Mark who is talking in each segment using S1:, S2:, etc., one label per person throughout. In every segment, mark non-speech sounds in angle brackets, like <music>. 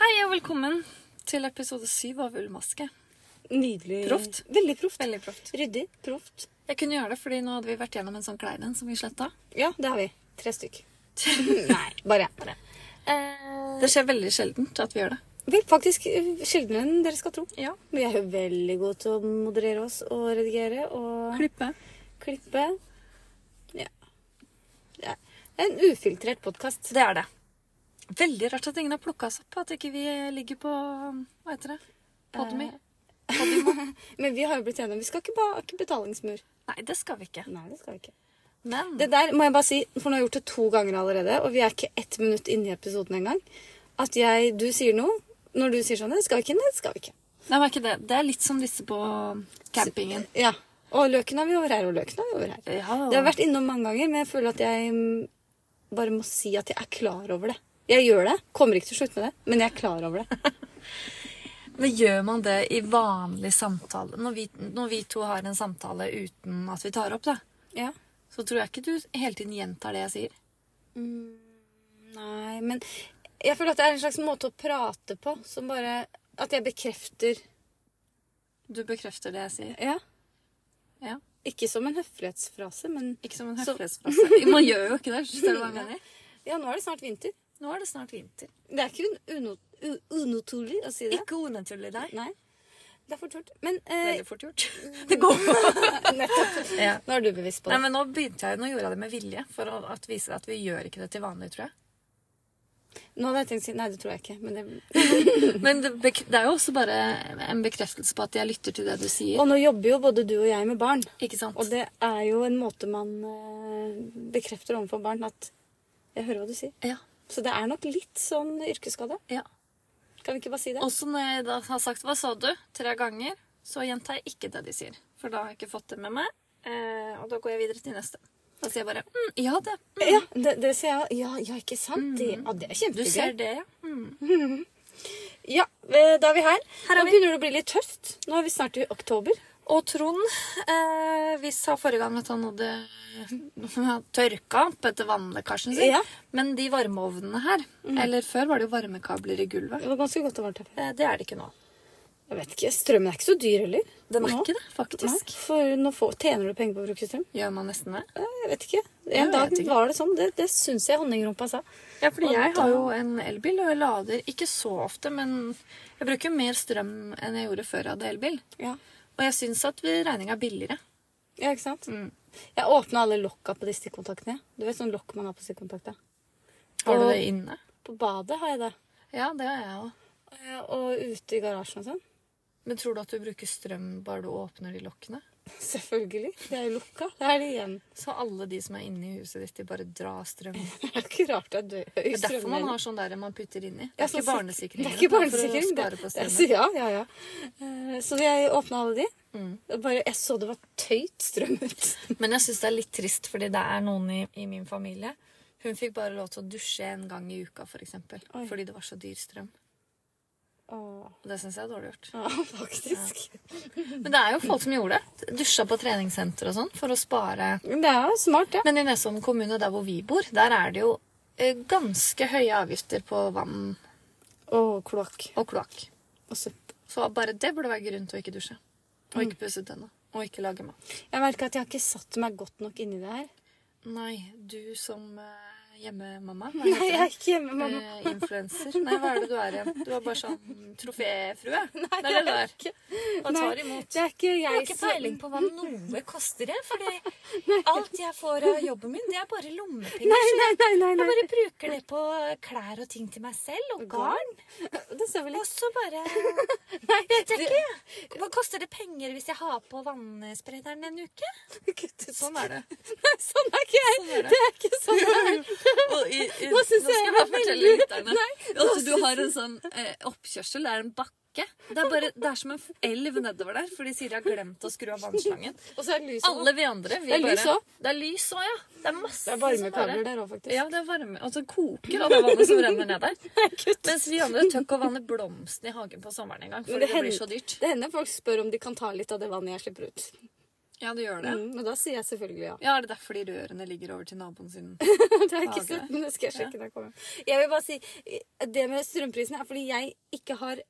S1: Velkommen til episode syv av Ullmaske.
S2: Nydelig.
S1: Proft.
S2: Veldig proft.
S1: Veldig proft.
S2: Ryddig. Proft.
S1: Jeg kunne gjøre det, fordi nå hadde vi vært gjennom en sånn klein en som vi sletta.
S2: Ja, det har vi. Tre
S1: <laughs>
S2: stykk. Nei, bare én. Bare.
S1: Det skjer veldig sjeldent at vi gjør det.
S2: Vi er faktisk eh, sjeldnere enn dere skal tro.
S1: Ja.
S2: Vi er jo veldig gode til å moderere oss og redigere og
S1: Klippe.
S2: klippe. Ja. ja. Det er en ufiltrert podkast.
S1: Det er det. Veldig rart at ingen har plukka oss opp, at ikke vi ligger på Hva heter det? Podmy?
S2: Men vi har jo blitt enige om vi skal ikke, ba, ikke betalingsmur.
S1: Nei, det skal vi ikke.
S2: Nei, det skal vi ikke.
S1: Men
S2: Det der må jeg bare si, for nå har jeg gjort det to ganger allerede, og vi er ikke ett minutt inne i episoden engang, at jeg, du sier noe når du sier sånn Det skal vi ikke, nei, det skal vi ikke.
S1: Nei, men er ikke det. det er litt som disse på campingen.
S2: Ja. Og løken er vi over her, og løken er vi over her.
S1: Ja.
S2: Det har vært innom mange ganger, men jeg føler at jeg mm, bare må si at jeg er klar over det. Jeg gjør det. Kommer ikke til å slutte med det, men jeg er klar over
S1: <laughs>
S2: det.
S1: Men gjør man det i vanlig samtale? Når vi, når vi to har en samtale uten at vi tar opp, da,
S2: Ja.
S1: så tror jeg ikke du hele tiden gjentar det jeg sier.
S2: Nei, men jeg føler at det er en slags måte å prate på som bare At jeg bekrefter
S1: Du bekrefter det jeg sier.
S2: Ja.
S1: Ja.
S2: Ikke som en høflighetsfrase, men
S1: Ikke som en
S2: Så-
S1: høflighetsfrase. <laughs> Man gjør jo ikke det. Skjønner du hva jeg mener?
S2: Ja, nå er det snart vinter.
S1: Nå er det snart vinter.
S2: Det er ikke un- uno- u- unaturlig å si det.
S1: Ikke unaturlig deg.
S2: Nei. Det er for tørt. Men eh,
S1: Veldig fort gjort. <laughs> Det går bra.
S2: <laughs> nettopp.
S1: Ja.
S2: Nå er du bevisst på
S1: Nei,
S2: det.
S1: men nå begynte jeg, nå gjorde jeg det med vilje for å at vise deg at vi gjør ikke det til vanlig, tror jeg.
S2: Nå hadde jeg tenkt å si Nei, det tror jeg ikke. Men det...
S1: Men det, bek det er jo også bare en bekreftelse på at jeg lytter til det du sier.
S2: Og nå jobber jo både du og jeg med barn.
S1: Ikke sant?
S2: Og det er jo en måte man eh, bekrefter overfor barn at Jeg hører hva du sier.
S1: Ja.
S2: Så det er nok litt sånn yrkesskade.
S1: ja.
S2: Kan vi ikke bare si det?
S1: Også når jeg da har sagt 'hva sa du?' tre ganger, så gjentar jeg ikke det de sier. For da har jeg ikke fått det med meg, eh, og da går jeg videre til neste. Da sier jeg bare mm, 'ja, det'. Mm,
S2: Ja, det, det ser jeg. Ja, ja ikke sant? Det, ja, det er
S1: du ser
S2: kjempegøy.
S1: det, ja. Mm.
S2: Ja, eh, da er vi her.
S1: Her er
S2: nå
S1: vi.
S2: begynner det å bli litt tøft. Nå er vi snart i oktober.
S1: Og Trond eh, Vi sa forrige gang at han <laughs> hadde tørka opp etter vannlekkasjen sin.
S2: Ja. Mhm.
S1: Men de varmeovnene her Eller før var det jo varmekabler i gulvet.
S2: Det var ganske godt og varmt her. før.
S1: Eh, det er det ikke nå.
S2: Jeg vet ikke, Strømmen er ikke så dyr heller.
S1: Den er
S2: Nå.
S1: ikke det, faktisk.
S2: Nei, for nå får, tjener du penger på å bruke strøm.
S1: Gjør man nesten det?
S2: Eh, Jeg vet ikke.
S1: Jeg
S2: En
S1: vet
S2: dag
S1: ikke.
S2: var det sånn. Det, det syns jeg honningrumpa sa.
S1: Ja, fordi
S2: Og
S1: jeg
S2: da-
S1: har jo en elbil, og jeg lader ikke så ofte, men jeg bruker mer strøm enn jeg gjorde før jeg hadde elbil.
S2: Ja,
S1: Og jeg syns at regninga er billigere.
S2: ja ikke sant? Jeg åpna alle lokka på de stikkontaktene. Du vet sånn lokk man har på stikkontakta.
S1: Har du
S2: Og-
S1: det inne?
S2: På badet har jeg det.
S1: Ja, det har jeg òg.
S2: Eh, Og ute i garasjen og sånn. <laughs>
S1: Men tror du at du bruker strøm bare du åpner de lokkene?
S2: Selvfølgelig. Det er jo lukka. Det er det igjen. <laughs>
S1: Så alle de som er inne i huset ditt, de bare drar strøm?
S2: Det er ikke rart det er dø- høy
S1: Det er derfor man
S2: strømregning.
S1: har sånn der man putter inni. Det
S2: Ja,
S1: er ikke
S2: sånn sik-
S1: barnesikring.
S2: Det er ikke barnesikring.
S1: For å
S2: det-
S1: spare på
S2: det er-
S1: strømmen.
S2: ja, ja, ja. Eh, Så jeg åpna alle de.
S1: Mm.
S2: Og Bare, jeg så det var tøyt strøm ut.
S1: Men jeg syns det er litt trist, fordi det er noen i, i min familie Hun fikk bare lov til å dusje en gang i uka, for eksempel.
S2: Oi.
S1: Fordi det var så dyr strøm.
S2: Åh,
S1: Og det syns jeg er dårlig gjort.
S2: <laughs> Ja, faktisk.
S1: Men det er jo folk som gjorde det. Dusja på treningssenter og sånn for å spare
S2: Men det er jo smart, ja.
S1: Men i Nesodden kommune, der hvor vi bor, der er det jo eh, ganske høye avgifter på vann
S2: Og kloakk.
S1: og kloakk.
S2: Og søppel.
S1: Så bare det burde være grunn til å ikke dusje. Og ikke pusse tenna. Og ikke lage mat.
S2: Jeg merker at jeg har ikke satt meg godt nok inni det her.
S1: Nei, du som eh, hjemmemamma <laughs> hva
S2: Nei,
S1: heter
S2: jeg er
S1: det?
S2: ikke hjemme, mamma.
S1: Eh, Influenser. Nei, hva er det du er igjen? Du er bare sånn troféfrue. <laughs> Nei, det er det du er. Og
S2: Nei,
S1: tar imot.
S2: det er ikke jeg
S1: Jeg har ikke
S2: som-
S1: peiling på hva noe koster, jeg. Fordi alt jeg får av jobben min, det er bare lommepenger.
S2: Nei, nei, nei, nei,
S1: Jeg
S2: nei.
S1: bare bruker det på klær og ting til meg selv, og garn.
S2: Det ser vel
S1: Og
S2: ikke
S1: så <laughs> bare
S2: Nei,
S1: Vet jeg ikke. Hva koster det penger hvis jeg har på vannsprederen en uke?
S2: Kutt ut.
S1: Sånn er <laughs> det.
S2: Nei, sånn er ikke jeg.
S1: Sånn er det.
S2: Det er ikke sånn jeg er. Nå synes jeg
S1: skal bare
S2: det var
S1: fortelle
S2: veldig-
S1: lytterne
S2: Nei,
S1: at du har en sånn eh, oppkjørsel. Det er en bakke. Det er, bare, det er som en elv nedover der, fordi Siri har glemt å skru av <laughs> vannslangen.
S2: Og så er det lys også.
S1: Alle vi andre vi
S2: Det er lys
S1: bare-
S2: også.
S1: Det er lys òg, ja. Det er masse
S2: Det er
S1: som bare-
S2: varmekabler der òg, faktisk.
S1: Ja, det er varme. Og så koker av det vannet som renner ned der. Mens vi andre tør ikke å vanne blomstene i hagen på sommeren engang.
S2: Men
S1: Fordi det,
S2: hender-
S1: blir så dyrt.
S2: Det hender folk spør om de kan ta litt av det vannet jeg slipper ut.
S1: Ja, du gjør det.
S2: Mm, og da sier jeg selvfølgelig ja.
S1: Ja, Er det derfor de rørene ligger over til naboen sin?
S2: <laughs> Det har jeg ikke
S1: Hage.
S2: sett, men det skal jeg sjekke når jeg kommer. Jeg vil bare si, det med strømprisene er fordi jeg ikke har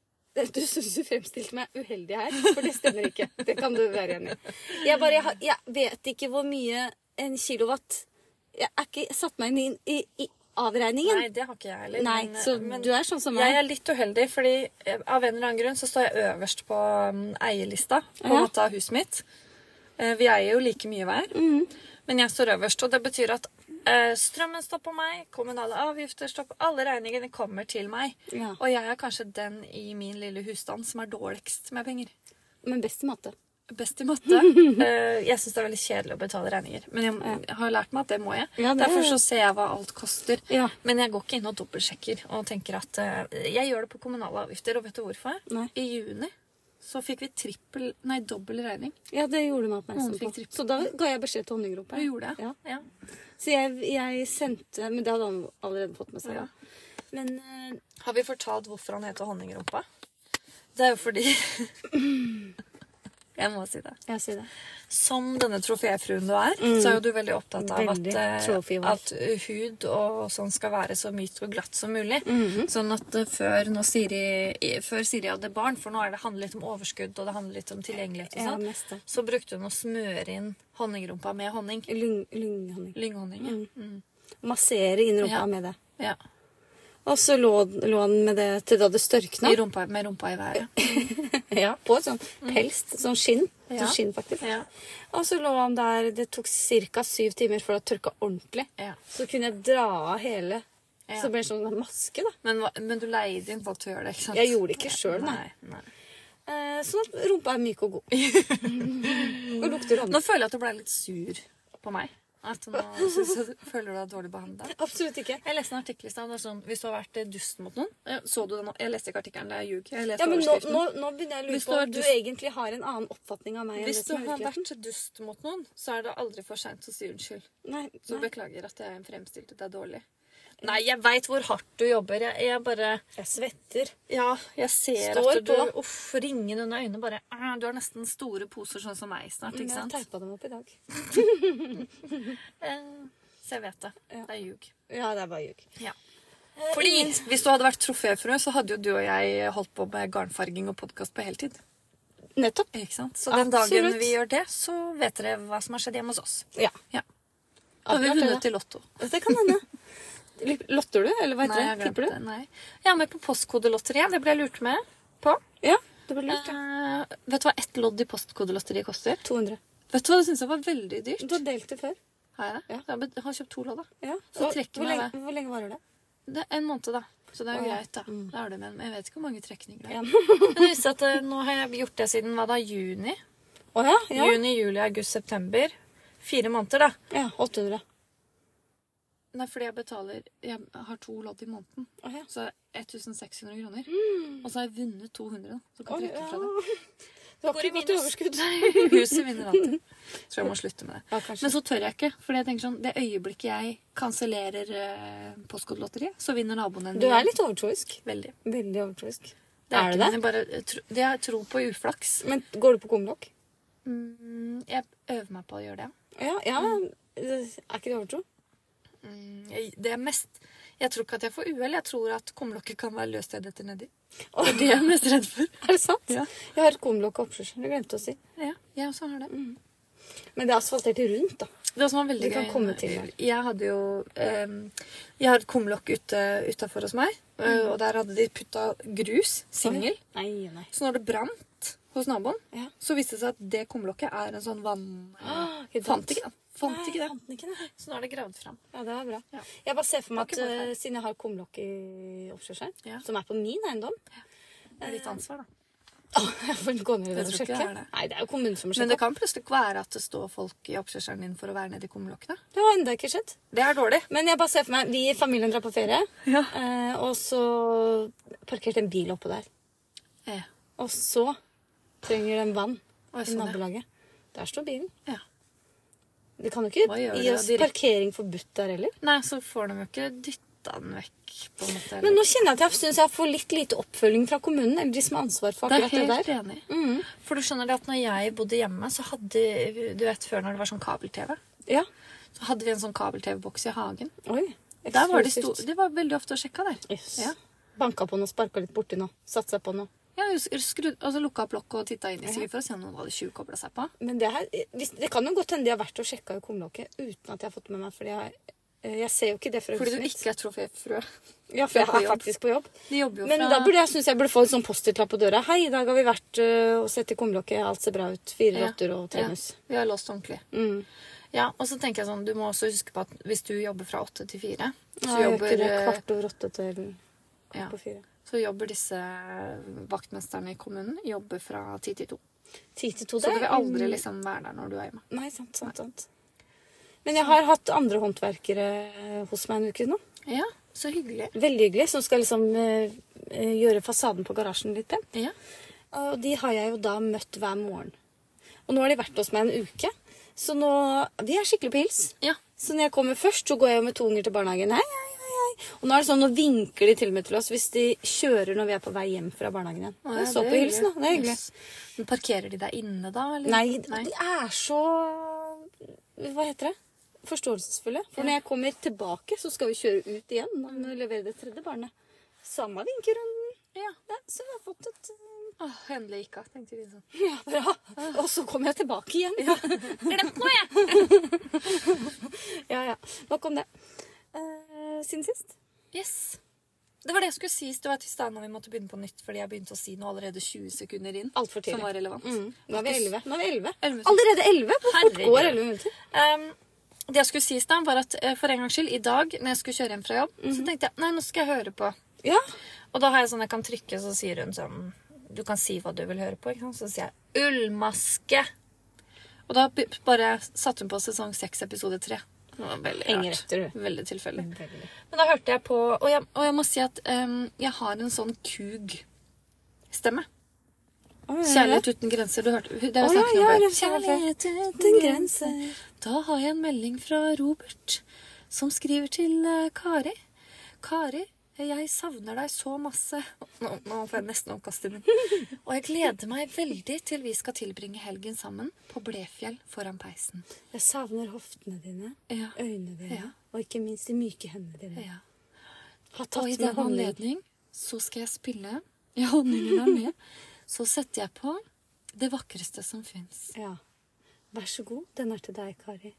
S2: du syns du fremstilte meg uheldig her, for det stemmer ikke. Det kan du være enig i. Jeg bare jeg, har- jeg vet ikke hvor mye en kilowatt Jeg er ikke jeg satt meg inn i, i, i avregningen.
S1: Nei, det har ikke jeg heller.
S2: Nei,
S1: men- eh,
S2: så
S1: men-
S2: du er sånn som
S1: Jeg
S2: meg.
S1: er litt uheldig, fordi eh, av en eller annen grunn så står jeg øverst på mm, eierlista på
S2: Ja.
S1: en måte av huset mitt. Eh, Vi eier jo like mye hver,
S2: Mhm.
S1: men jeg står øverst. Og det betyr at eh, strømmen står på meg, kommunale avgifter står på Alle regningene kommer til meg.
S2: Ja.
S1: Og jeg er kanskje den i min lille husstand som er dårligst med penger.
S2: Men best i matte.
S1: Best i matte.
S2: <laughs>
S1: Eh, jeg syns det er veldig kjedelig å betale regninger, men jeg, jeg har lært meg at det må jeg.
S2: Ja, det-
S1: Derfor så ser jeg hva alt koster.
S2: Ja.
S1: Men jeg går ikke inn og dobbeltsjekker og tenker at eh, Jeg gjør det på kommunale avgifter, og vet du hvorfor?
S2: Nei.
S1: I juni så fikk vi trippel, nei, dobbel regning.
S2: Ja, det gjorde meg oppmerksom
S1: Noen fikk
S2: på.
S1: trippel.
S2: Så da ga jeg beskjed til honningropa.
S1: Hva gjorde jeg?
S2: Ja.
S1: Ja.
S2: Så jeg, jeg sendte Men det hadde han allerede fått med seg.
S1: Ja.
S2: da. Men eh,
S1: Har vi fortalt hvorfor han heter Honningrumpa? Det er jo fordi
S2: <laughs>
S1: Jeg må si det.
S2: ja, si det.
S1: Som denne troféfruen du er, så er jo du veldig opptatt av at,
S2: Mm. Veldig
S1: eh,
S2: troféwife.
S1: at hud og sånn skal være så myk og glatt som mulig.
S2: Mm. Mhm.
S1: Sånn at eh, før, når Siri, i- før Siri hadde barn, for nå er det handler litt om overskudd og det handler litt om tilgjengelighet, og
S2: Ja, Mm.
S1: sånn,
S2: mest det.
S1: så brukte hun å smøre inn honningrumpa med honning.
S2: Lyng, lynghonning.
S1: Lynghonning. ja. Mm.
S2: Massere inn rumpa
S1: Ja.
S2: med det.
S1: Ja.
S2: Og så lå, lå han med det til da det størkna.
S1: I rumpa, med rumpa i været.
S2: <laughs> Ja, på et sånn pels, sånn skinn.
S1: Ja.
S2: Sånn skinn faktisk.
S1: Ja.
S2: Og så lå han der Det tok ca. syv timer før det tørka ordentlig.
S1: Ja.
S2: Så kunne jeg dra av hele.
S1: Ja.
S2: Så ble det sånn maske, da.
S1: Men, hva- men du leide inn folk til å gjøre det, ikke sant?
S2: Jeg gjorde det ikke sjøl, nei.
S1: nei, nei.
S2: Eh, sånn at rumpa er myk og <laughs> god. og lukter hånd.
S1: Nå føler jeg at du ble litt sur på meg. At nå synes jeg, føler du deg dårlig behandla.
S2: Absolutt ikke.
S1: Jeg leste en artikkel i stad. det var Sånn, hvis du har vært eh, dust mot noen eh, Så du den nå? Jeg leste ikke artikkelen. Jeg ljuger. Jeg leste
S2: Ja, men nå,
S1: overskriften.
S2: nå, nå begynner jeg å lure
S1: Hvis
S2: på
S1: du
S2: om
S1: har
S2: du
S1: dust-
S2: egentlig har en annen oppfatning av meg. enn
S1: Hvis du
S2: det som er
S1: har
S2: virkeligheten.
S1: vært dust mot noen, så er det aldri for seint å si unnskyld.
S2: Nei,
S1: Så
S2: nei.
S1: beklager at jeg fremstilte deg dårlig. Nei, jeg veit hvor hardt du jobber. Jeg, jeg bare
S2: Jeg svetter.
S1: Ja, jeg ser
S2: Står
S1: at du
S2: på.
S1: Uff, ringen under øynene bare «Ah, Du har nesten store poser sånn som meg snart, ikke
S2: Mm, Jeg
S1: sant?
S2: teipa dem opp i dag.
S1: Eh, så jeg vet det.
S2: Ja.
S1: Det er ljug.
S2: Ja, det er bare ljug.
S1: Ja. Fordi Hvis du hadde vært troféfrø, så hadde jo du og jeg holdt på med garnfarging og podkast på heltid.
S2: Nettopp.
S1: Ikke sant? Så den
S2: Absolutt.
S1: dagen vi gjør det, så vet dere hva som har skjedd hjemme hos oss.
S2: Ja.
S1: Ja. Da har vi
S2: Akkurat det,
S1: vunnet i Lotto.
S2: da. Det kan <laughs> hende. Lotter du, eller hva
S1: Nei,
S2: heter
S1: jeg
S2: det?
S1: glemte
S2: Tipper
S1: det.
S2: du?
S1: Nei. Jeg er med på Postkodelotteriet. Det ble jeg lurt med på.
S2: Ja, det ble lurt. Ja.
S1: Eh, vet du hva ett lodd i Postkodelotteriet koster?
S2: 200.
S1: Vet du hva, Det syns jeg var veldig dyrt.
S2: Du har delt det før.
S1: Har jeg det?
S2: Ja.
S1: Jeg har bet- har kjøpt to lodd, da.
S2: Ja.
S1: Så
S2: Og
S1: trekker
S2: hvor,
S1: man
S2: lenge, hvor lenge varer det?
S1: Det er en måned, da. Så det er jo
S2: Å, ja.
S1: greit, da. Da er det med, men jeg vet ikke hvor mange trekninger det
S2: Ja.
S1: er. <laughs> Men det viser at eh, nå har jeg gjort det siden hva da, juni?
S2: Å ja, ja.
S1: Juni, juli, august, september. Fire måneder, da.
S2: ja. 800.
S1: Nei, fordi jeg betaler Jeg har to lodd i måneden.
S2: Å ja.
S1: Så 1600 kroner. Og så har jeg vunnet 200, da. Så
S2: Å,
S1: kan jeg trekke
S2: ja.
S1: fra det.
S2: Du har ikke gått i overskudd.
S1: <laughs> Huset vinner alltid. Så jeg må slutte med det.
S2: Ja, kanskje.
S1: Men så tør jeg ikke. For jeg tenker sånn, det øyeblikket jeg kansellerer eh, postkodelotteriet, så vinner naboen en
S2: Du er litt overtroisk.
S1: Veldig.
S2: Veldig overtroisk.
S1: Det er,
S2: det
S1: ikke det? Bare, eh, tro, det er tro på uflaks.
S2: Men går du på kumlokk?
S1: Mm, jeg øver meg på å gjøre det.
S2: Ja, ja. Mm. Er ikke det overtro?
S1: Mm, jeg, det er mest Jeg tror ikke at jeg får uhell. Jeg tror at kumlokket kan være løst jeg detter nedi.
S2: Å,
S1: Det er jeg mest redd for.
S2: er det sant?
S1: Ja.
S2: Jeg har et kumlokk og oppskjørsel. Det glemte jeg å si.
S1: Ja, jeg også har det.
S2: Mm. Men det er asfaltert rundt, da.
S1: Det som var veldig
S2: Du kan
S1: gøy
S2: komme til det.
S1: Jeg hadde jo em, Jeg har et kumlokk ute, utafor hos meg, eh, og der hadde de putta grus, singel.
S2: Nei, nei.
S1: Så når det brant hos naboen,
S2: Ja.
S1: så viste det seg at det kumlokket er en sånn vann...
S2: Ah, ikke sant.
S1: <gasps> Fant ikke det. Fant
S2: Nei,
S1: ikke det.
S2: fant den ikke det.
S1: Så nå er det gravd fram.
S2: Ja, det var bra.
S1: Ja.
S2: Jeg bare ser for
S1: Det
S2: meg
S1: var
S2: at
S1: ikke vår feil.
S2: eh, siden jeg har kumlokk i oppkjørselen,
S1: Ja.
S2: som er på min eiendom <laughs>
S1: Det er ditt ansvar, da.
S2: Jeg får gå ned
S1: Jeg
S2: og
S1: tror ikke
S2: sjekke.
S1: det er det.
S2: Nei, det er jo kommunen som
S1: Men det
S2: sjekker.
S1: kan plutselig ikke være at det står folk i oppkjørselen din for å være nedi kumlokkene.
S2: Det har ennå ikke skjedd.
S1: Det er dårlig.
S2: Men jeg bare ser for meg Vi i familien drar på ferie,
S1: <laughs> Ja.
S2: eh, og så parkerte en bil oppå der.
S1: Eh.
S2: Og så trenger den vann
S1: Oi,
S2: i
S1: sånn, ja.
S2: nabolaget. Der står bilen.
S1: Ja.
S2: Vi kan jo ikke
S1: Hva gjør
S2: gi
S1: de da
S2: oss
S1: direkte?
S2: parkering forbudt der heller.
S1: Nei, så får de jo ikke dytt... ta den vekk. på en måte.
S2: Men nå kjenner jeg at jeg syns jeg får litt lite oppfølging fra kommunen. Eller de som har ansvar for
S1: det er
S2: akkurat det,
S1: helt
S2: der.
S1: enig.
S2: Mm.
S1: For du skjønner det at når jeg bodde hjemme, så hadde Du vet før når det var sånn kabel-TV?
S2: Ja.
S1: Så hadde vi en sånn kabel-TV-boks i hagen.
S2: Oi.
S1: Der var de, sto,
S2: Eksklusivt.
S1: de var veldig ofte og sjekka der.
S2: Yes.
S1: Ja.
S2: Banka på noe, sparka litt borti noe, satsa på noe.
S1: Ja, skru, altså Lukka opp lokket og titta inn i sikkert for å se om noen hadde tjuvkobla seg på.
S2: Men det, her, hvis- det kan jo godt hende de har vært og sjekka i kumlokket uten at jeg har fått med meg, for jeg, eh, jeg ser jo ikke det fra
S1: Fordi
S2: huset
S1: du
S2: mitt.
S1: ikke er troféfrue.
S2: Ja, for jeg
S1: på
S2: er
S1: jobb.
S2: faktisk på jobb.
S1: De jobber jo
S2: Men
S1: fra
S2: da burde jeg synes jeg burde få en sånn Post-It-lapp på døra. 'Hei, i dag har vi vært øh, og sett i kumlokket. Alt ser bra ut. Fire
S1: Ja.
S2: rotter og tre
S1: Ja,
S2: mus.'
S1: vi har låst ordentlig.
S2: Mm.
S1: Ja, og så tenker jeg sånn, Du må også huske på at hvis du jobber fra åtte til fire, så,
S2: Nei, jeg gjør ikke
S1: jobber,
S2: det.
S1: eh,
S2: Kvart over åtte til kvart
S1: ja,
S2: på fire.
S1: så jobber disse vaktmesterne i kommunen jobber fra ti til to.
S2: Ti til to,
S1: Så
S2: det
S1: du
S2: er-
S1: vil aldri liksom være der når du er hjemme.
S2: Nei, sant, sant, sant. Men jeg har hatt andre håndverkere eh, hos meg en uke nå.
S1: Ja, så hyggelig.
S2: Veldig hyggelig. Som skal liksom eh, eh, gjøre fasaden på garasjen litt pen.
S1: Ja.
S2: Og de har jeg jo da møtt hver morgen. Og nå har de vært hos meg en uke. Så nå Vi er skikkelig på hils.
S1: ja.
S2: Så når jeg kommer først, så går jeg jo med to unger til barnehagen. Hei, hei, hei, hei. Og nå er det sånn, nå vinker de til og med til oss hvis de kjører når vi er på vei hjem fra barnehagen igjen.
S1: Å,
S2: jeg
S1: ja,
S2: så
S1: det
S2: på
S1: er
S2: hilsen, da. Det er hyggelig.
S1: Yes. Men Parkerer de deg inne da? Eller?
S2: Nei, de er så Hva heter det? Forståelsesfulle. For når jeg kommer tilbake, så skal vi kjøre ut igjen og levere det tredje barnet. Samme vinkerunden.
S1: Ja.
S2: Ja, så vi har fått et eh,
S1: Åh, endelig ikke, tenkte vi sånn.
S2: Ja, bra. Og så kommer jeg tilbake igjen. <laughs> Ja,
S1: Glemt noe, <laughs> jeg!
S2: <laughs> ja. Nok om det. Eh, siden sist.
S1: Yes. Det var det jeg skulle si det var til Stein når vi måtte begynne på nytt, fordi jeg begynte å si noe allerede 20 sekunder inn.
S2: Altfor tidlig.
S1: Som var relevant.
S2: Mm. Nå er vi elleve. Nå er vi elleve.
S1: Elleve.
S2: Allerede elleve? Hvor fort
S1: Herregud.
S2: går elleve minutter?
S1: Ehm, det jeg skulle si i sted, var at eh, for en gangs skyld, i dag når jeg skulle kjøre hjem fra jobb,
S2: Mhm.
S1: så tenkte jeg nei, nå skal jeg høre på.
S2: Ja.
S1: Og da har jeg sånn jeg kan trykke, så sier hun sånn Du kan si hva du vil høre på. Ikke sant? Så sier jeg ullmaske. Og da b- bare satte hun på sesong seks, episode tre. Det var veldig
S2: Henger
S1: rart.
S2: etter, du.
S1: Veldig tilfeldig.
S2: Veldig.
S1: Mm. Men da hørte jeg på Og jeg, og jeg må si at ehm, jeg har en sånn kug-stemme.
S2: Å, ja, ja.
S1: Kjærlighet uten grenser. Du hørte, det har
S2: Å,
S1: vi
S2: ja,
S1: snakket
S2: ja,
S1: om
S2: det
S1: før.
S2: sa jeg før.
S1: Kjærlighet
S2: Uten
S1: uten
S2: grenser.
S1: grenser. Da har jeg en melding fra Robert, som skriver til eh, Kari. Kari, jeg savner deg så masse. Nå, nå får jeg nesten oppkast i munnen. Og jeg gleder meg veldig til vi skal tilbringe helgen sammen på Blefjell foran peisen.
S2: Jeg savner hoftene dine,
S1: Ja.
S2: øynene dine
S1: Ja.
S2: og ikke minst de myke hendene dine.
S1: ja.
S2: Har
S1: Og i
S2: tatt med
S1: den
S2: håndledd.
S1: anledning så skal jeg spille Ja, honningen er med. Så setter jeg på det vakreste som fins.
S2: Ja. Vær så god, den er til deg, Kari.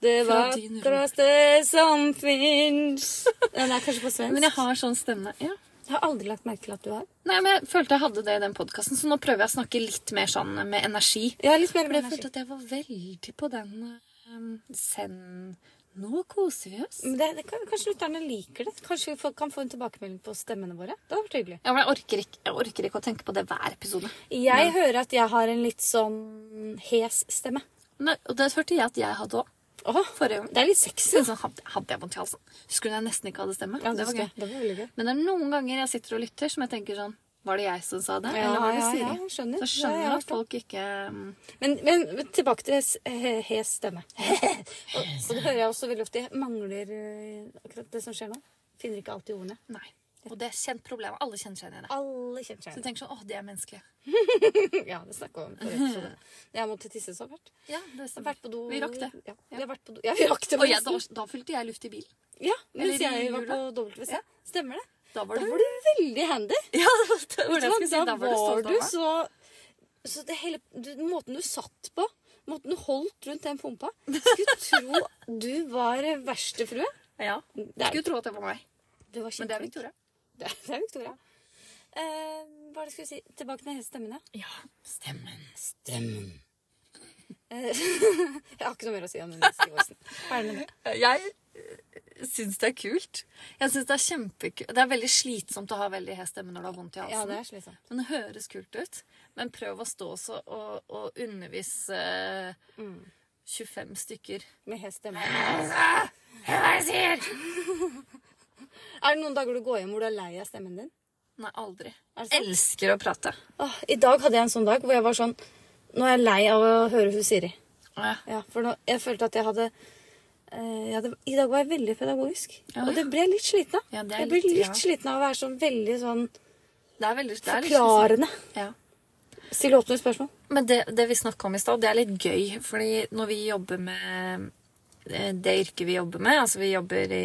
S2: Det
S1: Fra din rot.
S2: vakreste
S1: <laughs>
S2: som fins Den er kanskje på svensk.
S1: Men jeg har sånn stemme. ja.
S2: Jeg har aldri lagt merke til at du har.
S1: Nei, men Jeg følte jeg hadde det i den podkasten, så nå prøver jeg å snakke litt mer sånn med energi.
S2: Jeg er litt mer
S1: For jeg
S2: energi.
S1: følte at jeg var veldig på den um, Send Nå koser vi oss.
S2: Men det, det kan, kanskje lytterne liker det. Kanskje vi får, kan få en tilbakemelding på stemmene våre. Det hadde vært hyggelig.
S1: Ja, men jeg orker, ikke, jeg orker ikke å tenke på det hver episode.
S2: Jeg hører at jeg har en litt sånn hes stemme.
S1: Nei, og det hørte jeg at jeg hadde òg
S2: Åh,
S1: forrige gang.
S2: det er litt sexy.
S1: Sånn, hadde, hadde jeg vondt i halsen? Husker du da jeg nesten ikke hadde stemme?
S2: Ja,
S1: det var gøy.
S2: Det var veldig gøy.
S1: Men det er noen ganger jeg sitter og lytter, som jeg tenker sånn Var det jeg som sa det?
S2: Ja,
S1: eller var det
S2: ja,
S1: Siri?
S2: ja, jeg skjønner.
S1: Så skjønner
S2: Ja,
S1: jeg
S2: jeg
S1: at folk ikke um,
S2: Men, men tilbake til s- he- hes <laughs> stemme. og, og det hører jeg også veldig ofte. Jeg mangler eh, akkurat det som skjer nå. Finner ikke alltid ordene.
S1: Nei. Og det er kjent problem. Alle kjenner seg igjen i det.
S2: Alle kjenner
S1: Så
S2: seg
S1: jeg tenker sånn Å, det er menneskelig.
S2: igjen. <laughs> Ja, det snakka vi om forrige episode. Jeg måtte tisse så fælt.
S1: Ja, det
S2: Jeg har
S1: stemmer.
S2: vært på do
S1: Vi rakk det.
S2: Ja, vi har vært på do. Ja, vi rakk det.
S1: Og jeg, da,
S2: forresten.
S1: da fylte jeg luft i bilen.
S2: ja, mens
S1: Eller i
S2: jeg var
S1: jula.
S2: på WC. Stemmer det?
S1: Da var
S2: Da
S1: du
S2: var du veldig handy.
S1: <laughs> Ja, det var det jeg skulle si.
S2: da
S1: Da var du stolt av
S2: du
S1: meg.
S2: så Så det hele du, Måten du satt på, måten du holdt rundt den pumpa Skulle tro <laughs> du var verkstedfrue.
S1: Ja.
S2: Det er
S1: Skulle tro at det var meg.
S2: Du
S1: Men det er
S2: var kjempeflink.
S1: Victoria.
S2: <laughs> Det er, det er Victoria. Eh, hva er det jeg skulle si? Tilbake til stemmene.
S1: Ja. Stemmen.
S2: Stemmen. Eh, <laughs> jeg har ikke noe mer å si om den Sivertsen. Ferdig med det.
S1: <laughs> Jeg eh, syns det er kult. Jeg synes Det er kjempekult. Det er veldig slitsomt å ha veldig hes stemme når du har vondt i halsen.
S2: Ja, det er slitsomt.
S1: Men det høres kult ut. Men prøv å stå også og, og undervise eh, 25 <laughs> stykker.
S2: Med hes stemme.
S1: Hør hva jeg sier!
S2: Er det noen dager du går hjem hvor du er lei av stemmen din?
S1: Nei, aldri.
S2: Er det sant?
S1: Elsker å prate.
S2: Åh, I dag hadde jeg en sånn dag hvor jeg var sånn Nå er jeg lei av å høre hun Siri.
S1: Ja.
S2: Ja, for nå, jeg følte at jeg hadde eh, ja, det, I dag var jeg veldig pedagogisk.
S1: Ja.
S2: Og det ble jeg litt sliten av.
S1: Ja, det er
S2: jeg ble
S1: litt-
S2: litt
S1: ja.
S2: sliten av å være sånn veldig sånn
S1: Det er veldig det er litt slitsomt.
S2: forklarende.
S1: Ja.
S2: Stille åpne spørsmål.
S1: Men det, det vi snakka om i stad, det er litt gøy. Fordi når vi jobber med eh, det yrket vi jobber med, altså vi jobber i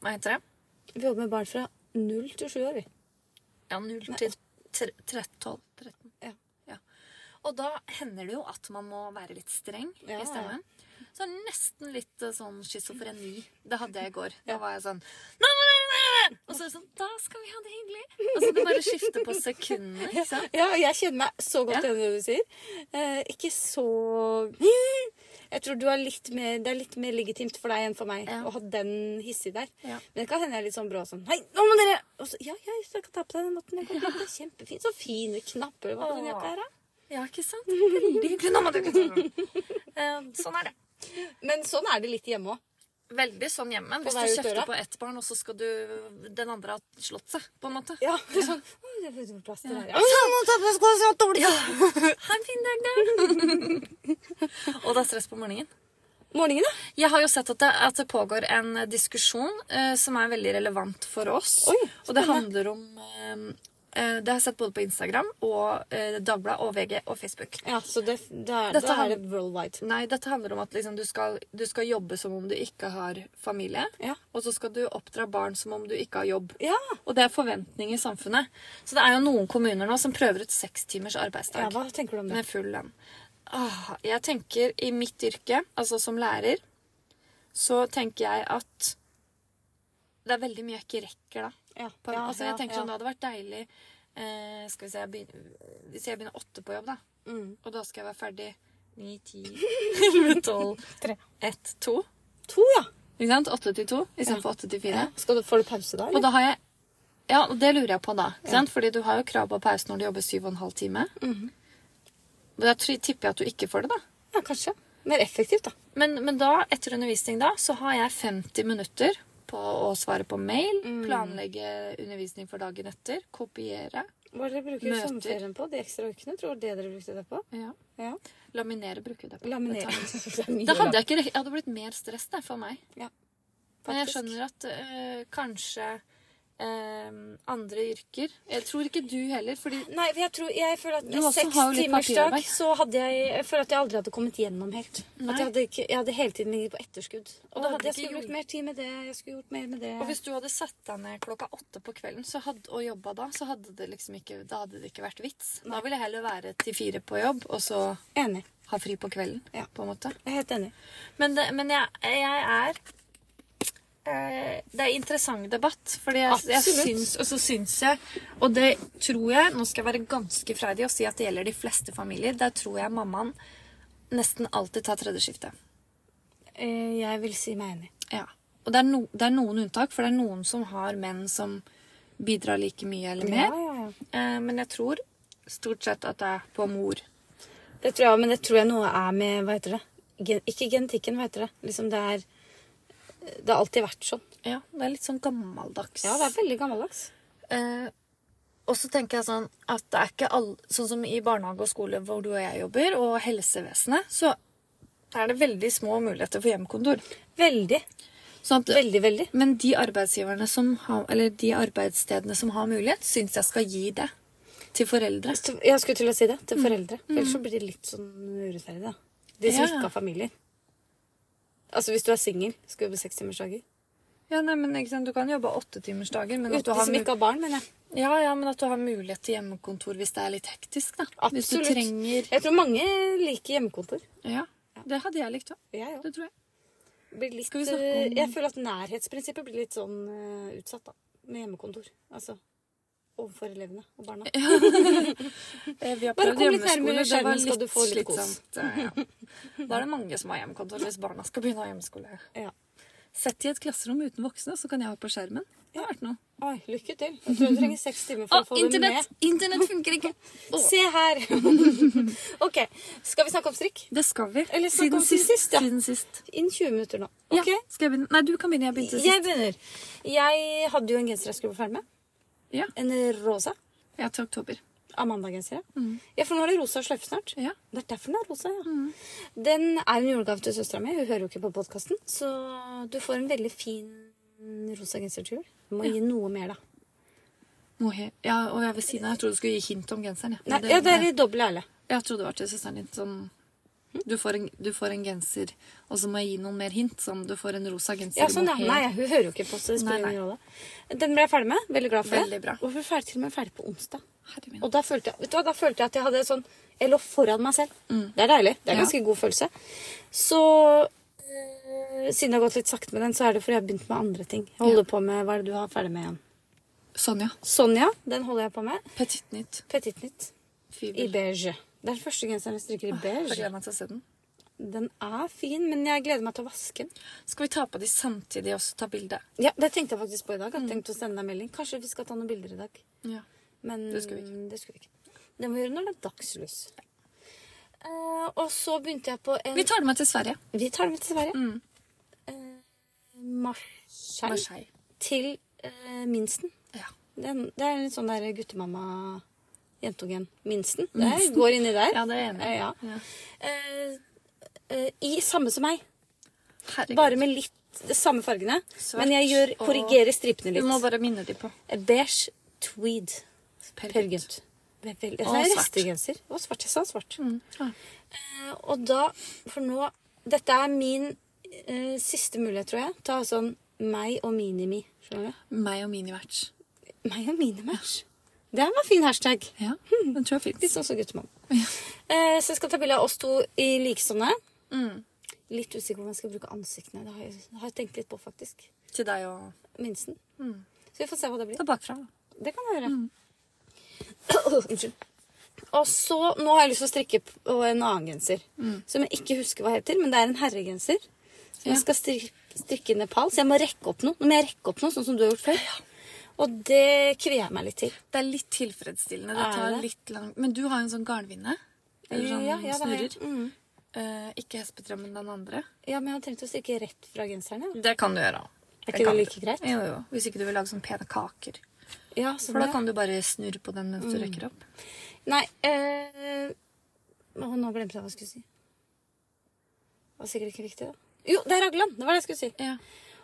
S1: Hva heter det?
S2: Vi jobber med barn fra null til sju år, vi.
S1: Ja, 0 til 12-13.
S2: Ja.
S1: Ja. Og da hender det jo at man må være litt streng
S2: Ja,
S1: i stemmen. Så nesten litt eh, sånn schizofreni. Det hadde jeg i går. Da var jeg sånn Nå må du være med!» Og så er det sånn Da skal vi ha det hyggelig! Altså det bare skifter på sekundene. ikke sant?
S2: Ja, og jeg kjenner meg så godt
S1: Ja.
S2: igjen i det du sier. Eh, ikke så Jeg tror du har litt mer, det er litt mer legitimt for deg enn for meg
S1: Ja.
S2: å ha den hissig der.
S1: Ja.
S2: Men det kan hende jeg er litt sånn brå sånn Hei, nå må dere og så, Ja, ja, jeg kan ta på deg den måten. Jeg går fint, det er kjempefint. Så fine knapper du har på den jakka her, da.
S1: Ja, ikke sant? Veldig hyggelig. Nå må du Eh, Sånn er det.
S2: Men sånn er det litt hjemme òg.
S1: Veldig sånn hjemme. Hvis
S2: vei
S1: du
S2: ut døra.
S1: kjefter på ett barn, og så skal du Den andre har slått seg, på en måte.
S2: Ja. det er Sånn, «Oi, det er for plass til det her, ja. Sånn, nå tar jeg på skoene, så jeg har dårlig tid.»
S1: Ha en fin dag, da!
S2: <laughs>
S1: og det er stress på morgenen.
S2: Morgenen, da?
S1: Jeg har jo sett at det, at det pågår en diskusjon eh, som er veldig relevant for oss.
S2: Oi,
S1: og det handler om eh, eh, Det har jeg sett både på Instagram og eh, Dagbladet og VG og Facebook.
S2: Ja, så det, da,
S1: Dette
S2: da
S1: har-
S2: er det worldwide.
S1: Nei, dette handler om at liksom, du, skal, du skal jobbe som om du ikke har familie.
S2: Ja.
S1: Og så skal du oppdra barn som om du ikke har jobb.
S2: Ja.
S1: Og det er forventning i samfunnet. Så det er jo noen kommuner nå som prøver ut seks timers arbeidsdag
S2: ja. Hva tenker du om det?
S1: med full lønn. Åh, jeg tenker i mitt yrke, altså som lærer, så tenker jeg at det er veldig mye jeg ikke rekker da.
S2: Ja,
S1: På,
S2: ja,
S1: altså,
S2: ja,
S1: jeg tenker
S2: ja.
S1: sånn, det hadde vært deilig eh, skal vi se, jeg begynner, Hvis jeg begynner åtte på jobb, da,
S2: Mm.
S1: og da skal jeg være ferdig ni,
S2: <laughs>
S1: ti, <laughs> elleve, tolv,
S2: Tre.
S1: ett, to.
S2: To, ja.
S1: Ikke sant? Åtte til to istedenfor åtte til fire.
S2: Skal du, får du pause da?
S1: Og da har jeg Ja, og det lurer jeg på da. Ikke sant? Fordi du har jo krav på pause når du jobber syv og en halv time.
S2: Mm-hmm.
S1: Men Da tri- tipper jeg at du ikke får det, da.
S2: Ja, kanskje. Mer effektivt, da.
S1: Men, men da, etter undervisning da, så har jeg 50 minutter på å svare på mail,
S2: Mm.
S1: planlegge undervisning for dagen etter, kopiere,
S2: Hva er det dere bruker
S1: Møter.
S2: sommerferien på? De ekstra ukene? Tror du det dere brukte det på? Ja.
S1: laminere bruker du det på.
S2: Laminering. <laughs> Det er mye
S1: Da hadde
S2: da.
S1: jeg ikke rekt- Det hadde blitt mer stress der for meg. Men jeg
S2: Faktisk.
S1: skjønner at øh, kanskje øh, andre yrker Jeg tror ikke du heller, fordi
S2: Nei, for jeg, tror, jeg føler
S1: Du også
S2: at seks
S1: har jo litt
S2: timers dag,
S1: papirarbeid.
S2: så hadde jeg, jeg føler at jeg aldri hadde kommet gjennom helt.
S1: Nei.
S2: At jeg hadde, ikke, jeg hadde hele tiden ligget på etterskudd. Og da
S1: hadde
S2: hadde jeg
S1: ikke
S2: skulle
S1: gjort-
S2: brukt mer tid med det, jeg skulle gjort mer med det.
S1: Og hvis du hadde satt deg ned klokka åtte på kvelden så hadde, og jobba da, så hadde det liksom ikke, da hadde det ikke vært vits. Da ville jeg heller være til fire på jobb, og så
S2: Enig.
S1: ha fri på kvelden,
S2: Ja.
S1: på en måte.
S2: Jeg er helt enig.
S1: Men, det, men jeg, jeg er eh, Det er interessant debatt, fordi jeg, jeg
S2: Absolutt.
S1: syns Og så syns jeg, og det tror jeg Nå skal jeg være ganske freidig og si at det gjelder de fleste familier. Der tror jeg mammaen nesten alltid tar tredjeskiftet.
S2: Eh, Jeg vil si meg enig.
S1: Ja. Og det er, no, det er noen unntak, for det er noen som har menn som bidrar like mye eller mer.
S2: Ja, ja, ja.
S1: Eh, men jeg tror stort sett at det er på mor.
S2: Det tror jeg, men det tror jeg noe er med Hva heter det? Gen, ikke genetikken, hva heter det? Liksom det er Det har alltid vært sånn.
S1: Ja, det er litt sånn gammeldags.
S2: Ja, det er veldig gammeldags.
S1: Eh, og så tenker jeg sånn at det er ikke all, Sånn som i barnehage og skole hvor du og jeg jobber, og helsevesenet, så er det veldig små muligheter for hjemmekontor.
S2: Veldig.
S1: Sånn at,
S2: Veldig, veldig.
S1: men de arbeidsgiverne som har, eller de arbeidsstedene som har mulighet, syns jeg skal gi det til foreldre.
S2: Så Jeg skulle til å si det
S1: Mm.
S2: til foreldre. For ellers så blir det litt sånn urettferdig, da. De som
S1: Ja.
S2: ikke har familier. Altså hvis du er singel, skal jobbe sekstimersdager.
S1: Ja, nei, men ikke sant, Du kan jobbe åttetimersdager, men, at du
S2: De
S1: har
S2: som
S1: mul-
S2: ikke har barn, mener jeg.
S1: ja, ja, men at du har mulighet til hjemmekontor hvis det er litt hektisk. da. Hvis du
S2: Absolutt.
S1: trenger
S2: Jeg tror mange liker hjemmekontor.
S1: Ja, det hadde jeg likt òg.
S2: Jeg òg.
S1: Det tror jeg.
S2: Blir litt,
S1: Skal vi snakke
S2: eh,
S1: om-
S2: Jeg føler at nærhetsprinsippet blir litt sånn eh, utsatt, da. Med hjemmekontor. Altså overfor elevene og barna.
S1: Eh, Vi har
S2: Bare
S1: prøvd
S2: kom litt
S1: hjemmeskole. Det
S2: nærmere
S1: var
S2: skjermen, skal
S1: litt
S2: du få litt kos.
S1: slitsomt. eh, Ja. Da er det mange som har hjemmekontor hvis barna skal begynne å ha hjemmeskole.
S2: Ja.
S1: Sett i et klasserom uten voksne, så kan jeg ha på skjermen. Det har vært noe.
S2: Oi, lykke til. Jeg tror du trenger seks timer
S1: <laughs>
S2: for å få det med.
S1: Ah, Internett funker ikke!
S2: Se her! <laughs> ok, skal vi snakke om strikk?
S1: <laughs> Det skal vi.
S2: Eller snakke om til sist, ja.
S1: Siden sist.
S2: Innen 20 minutter nå.
S1: Ja,
S2: Ok?
S1: skal jeg begynne? Nei, du kan begynne. Jeg begynte sist.
S2: Jeg begynner. Jeg hadde jo en genser jeg skulle være ferdig med.
S1: Ja.
S2: En rosa.
S1: Jeg er til oktober.
S2: Amanda-gensere. Ja, for nå er det rosa sløyfe snart.
S1: Mm. Ja. Mm.
S2: Det er derfor den er rosa, ja. Den er en julegave til søstera mi. Hun hører jo ikke på podkasten. Så du får en veldig fin rosa genser til jul. Du må gi noe mer, da.
S1: Noe he ja, og jeg ved siden av. Jeg trodde du skulle gi hint om genseren. Ja. Men
S2: Nei, ja, det er i doble ærlig.
S1: Jeg trodde det var til søsteren din sånn du får, en, du får en genser, og så må jeg gi noen mer hint. Sånn, du får en rosa genser
S2: Ja,
S1: i
S2: sånn, ja.
S1: mohair.
S2: Nei, hun hører jo ikke på, så det spiller
S1: Nei,
S2: ingen rolle. Den ble jeg ferdig med. Veldig glad for
S1: Veldig
S2: det.
S1: bra.
S2: Og vi er ferdig, til og med ferdig på onsdag.
S1: Herre min.
S2: Og da følte jeg, vet du hva, da følte jeg at jeg hadde sånn Jeg lå foran meg selv. Det er deilig. Det er en
S1: Mm. Ja.
S2: ganske god følelse. Så øh, siden det har gått litt sakte med den, så er det fordi jeg har begynt med andre ting. Jeg holder på med, Hva er det du har ferdig med igjen?
S1: Sonja.
S2: Sonja, den holder jeg på med.
S1: Petit nytt.
S2: Petit Nytt i
S1: Fibel.
S2: beige. Det er den første genseren jeg strikker i
S1: Jeg
S2: beige.
S1: gleder meg til å se den.
S2: Den er fin, men jeg gleder meg til å vaske den.
S1: Skal vi ta på de samtidig og så ta bilde?
S2: Ja, Det tenkte jeg faktisk på i dag. Jeg
S1: Mm.
S2: tenkte å sende deg en melding. Kanskje vi skal ta noen bilder i dag.
S1: Ja.
S2: Men
S1: Det skulle vi ikke.
S2: Det, skulle vi ikke. det må vi gjøre når det er dagslys. Eh, og så begynte jeg på en
S1: Vi tar det med til Sverige.
S2: Vi tar det med til Sverige.
S1: Mm.
S2: Eh, Marseille
S1: Marseille.
S2: til eh, Minsten.
S1: Ja.
S2: Den, det er litt sånn der guttemamma-jentungen. Minsten. Det går inni der.
S1: Ja, det er jeg enig i.
S2: Eh, ja.
S1: Ja.
S2: Eh, eh, I samme som meg,
S1: Herregud.
S2: bare med litt de samme fargene.
S1: Svart
S2: men jeg gjør,
S1: og-
S2: korrigerer stripene
S1: Du
S2: litt. Eh,
S1: må bare minne de på.
S2: Beige tweed. Per Gynt. Det er veldig- det er
S1: Og svart.
S2: restegenser. Og svart. Jeg sa svart.
S1: Mm. Ja.
S2: Eh, Og da, for nå Dette er min eh, siste mulighet, tror jeg. Ta sånn meg og minimi. Skjønner du?
S1: Meg og minimatch.
S2: <laughs> Meg og minimatch. Det var fin hashtag.
S1: Ja, <laughs> den tror jeg fins.
S2: Litt sånn som guttemann. Eh, så jeg skal ta bilde av oss to i likesånne. Mm. Litt usikker på om jeg skal bruke ansiktene. Det har jeg, det har jeg tenkt litt på, faktisk.
S1: Til deg og
S2: Minsten. Så vi får se hva det blir.
S1: Ta bakfra.
S2: Det kan jeg gjøre.
S1: Mm.
S2: <coughs> Unnskyld. Og så, Nå har jeg lyst til å strikke på en annen genser. Som jeg ikke husker hva heter, men det er en herregenser. Som
S1: Mm. Ja.
S2: jeg skal stri- strikke i Nepal. Så jeg må rekke opp noe. Nå må jeg rekke opp noe, sånn som du har gjort før. Og det kvier jeg meg litt til.
S1: Det er litt tilfredsstillende.
S2: Er
S1: Det tar
S2: det?
S1: litt lang Men du har jo en sånn garnvinne. Eller sånn
S2: Ja, ja, det har jeg.
S1: snurrer.
S2: Mm.
S1: Eh, ikke hespetrømmen, den andre.
S2: Ja, men jeg har tenkt å strikke rett fra genseren. Ja.
S1: Det kan du gjøre.
S2: Er ikke
S1: kan
S2: det
S1: du.
S2: like greit?
S1: Jo, jo. Hvis ikke du vil lage sånne pene kaker.
S2: Ja, sånn
S1: For da
S2: ja. Mm.
S1: kan du bare snurre på den mens du rekker opp.
S2: Nei eh, å, Nå glemte jeg hva jeg skulle si. Det var sikkert ikke viktig, da. Jo, det er Ragland! Det var det jeg skulle si.
S1: Ja.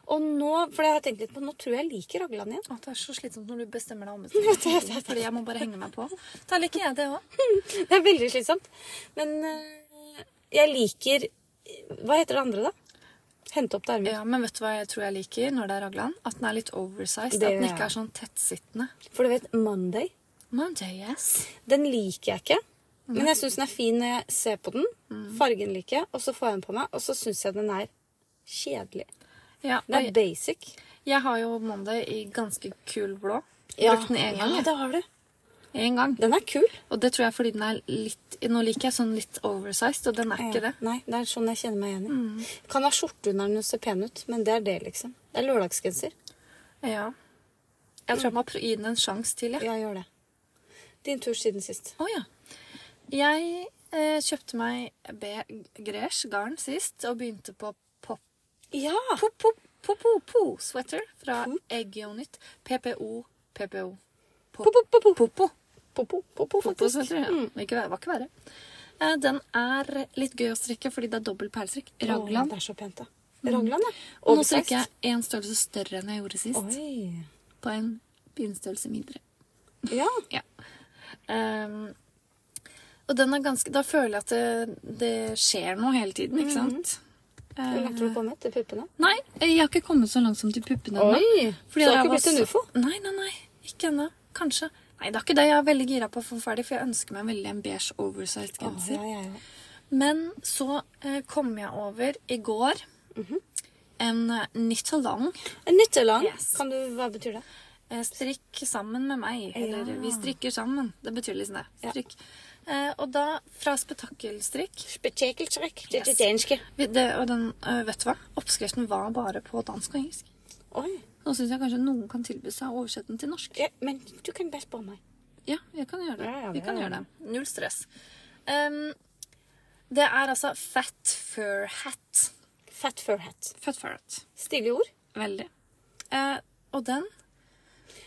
S2: Og nå, for det har jeg tenkt litt på, nå tror jeg jeg liker Ragland igjen.
S1: Å, det er så slitsomt når du bestemmer
S2: <laughs>
S1: deg ombestemt. Fordi jeg må bare henge meg på. Da liker jeg det òg.
S2: Det er veldig slitsomt. Men eh, jeg liker Hva heter det andre, da? Hente opp til armen.
S1: Ja, men vet du hva jeg tror jeg liker når det er raglan? At den er litt oversized.
S2: Det
S1: At den
S2: gjør jeg.
S1: ikke er sånn tettsittende.
S2: For du vet, Monday,
S1: Monday, yes.
S2: den liker jeg ikke. Men jeg syns den er fin når jeg ser på den. Fargen liker jeg, og så får jeg den på meg, og så syns jeg den er kjedelig.
S1: Ja,
S2: Den er
S1: og
S2: basic.
S1: jeg har jo Monday i ganske kul blå. Brukt den én gang.
S2: ja,
S1: jeg.
S2: det har du.
S1: En gang.
S2: Den er kul.
S1: Og det tror jeg fordi den er litt Nå liker jeg sånn litt oversized, og den er ikke det.
S2: Nei, det er sånn jeg kjenner meg igjen i. Kan ha skjorte under den og se pen ut, men det er det, liksom. Det er lørdagsgenser.
S1: Ja. Jeg tror jeg må prø- gi den en sjanse til, jeg.
S2: Ja, gjør det. Din tur siden sist.
S1: Å ja. Jeg eh, kjøpte meg B. Gresh garn sist, og begynte på pop
S2: Ja!
S1: Po-po-po-sweater fra Egg Unit. PPO, PPO.
S2: Po-po-po-po.
S1: Po-po.
S2: Popo, popo, faktisk.
S1: Fotosweater, ja. Mm. Ikke, ver- var ikke verre. Eh, Den er litt gøy å strikke fordi det er dobbel perlestrikk.
S2: Å,
S1: Raglan.
S2: det er så pent, da. Ragland, ja.
S1: Mm. Og nå strikker jeg én størrelse større enn jeg gjorde sist.
S2: Oi.
S1: På en pinnstørrelse mindre.
S2: Ja.
S1: Ja. Ehm, og den er ganske Da føler jeg at det, det skjer noe hele tiden,
S2: Mhm.
S1: ikke sant?
S2: Hvor langt har
S1: Eh,
S2: du kommet til puppene?
S1: nei, jeg har ikke kommet så langt som til puppene ennå.
S2: Så det
S1: jeg
S2: har ikke
S1: var
S2: blitt en
S1: så-
S2: ufo?
S1: Nei, nei, nei. Ikke ennå. Kanskje. Nei, det er ikke det. Jeg er veldig gira på å få ferdig, for jeg ønsker meg veldig en beige oversized
S2: Å,
S1: genser.
S2: ja, ja, ja.
S1: Men så eh, kom jeg over i går
S2: Mhm.
S1: en eh, knit along.
S2: En nyttelang.
S1: Yes.
S2: Kan du, hva betyr det?
S1: Eh, strikk sammen med meg. Eller vi strikker sammen. Det betyr liksom det.
S2: Ja.
S1: Strikk. Eh, og da fra spetakkelstrikk
S2: Spetekeltrekk. Det
S1: Yes.
S2: danske.
S1: vi- det, Og den, eh, vet du hva? Oppskriften var bare på dansk og engelsk.
S2: Oi.
S1: Nå syns jeg kanskje noen kan tilby seg å oversette den til norsk.
S2: Ja, men du kan bare spørre meg.
S1: Ja, jeg kan gjøre det.
S2: Ja, ja,
S1: vi
S2: det
S1: kan
S2: er-
S1: gjøre det. Null stress. Ehm, det er altså fat fur hat.
S2: Fat fur hat.
S1: Fat fur hat.
S2: Stilige ord.
S1: Veldig. Eh, og den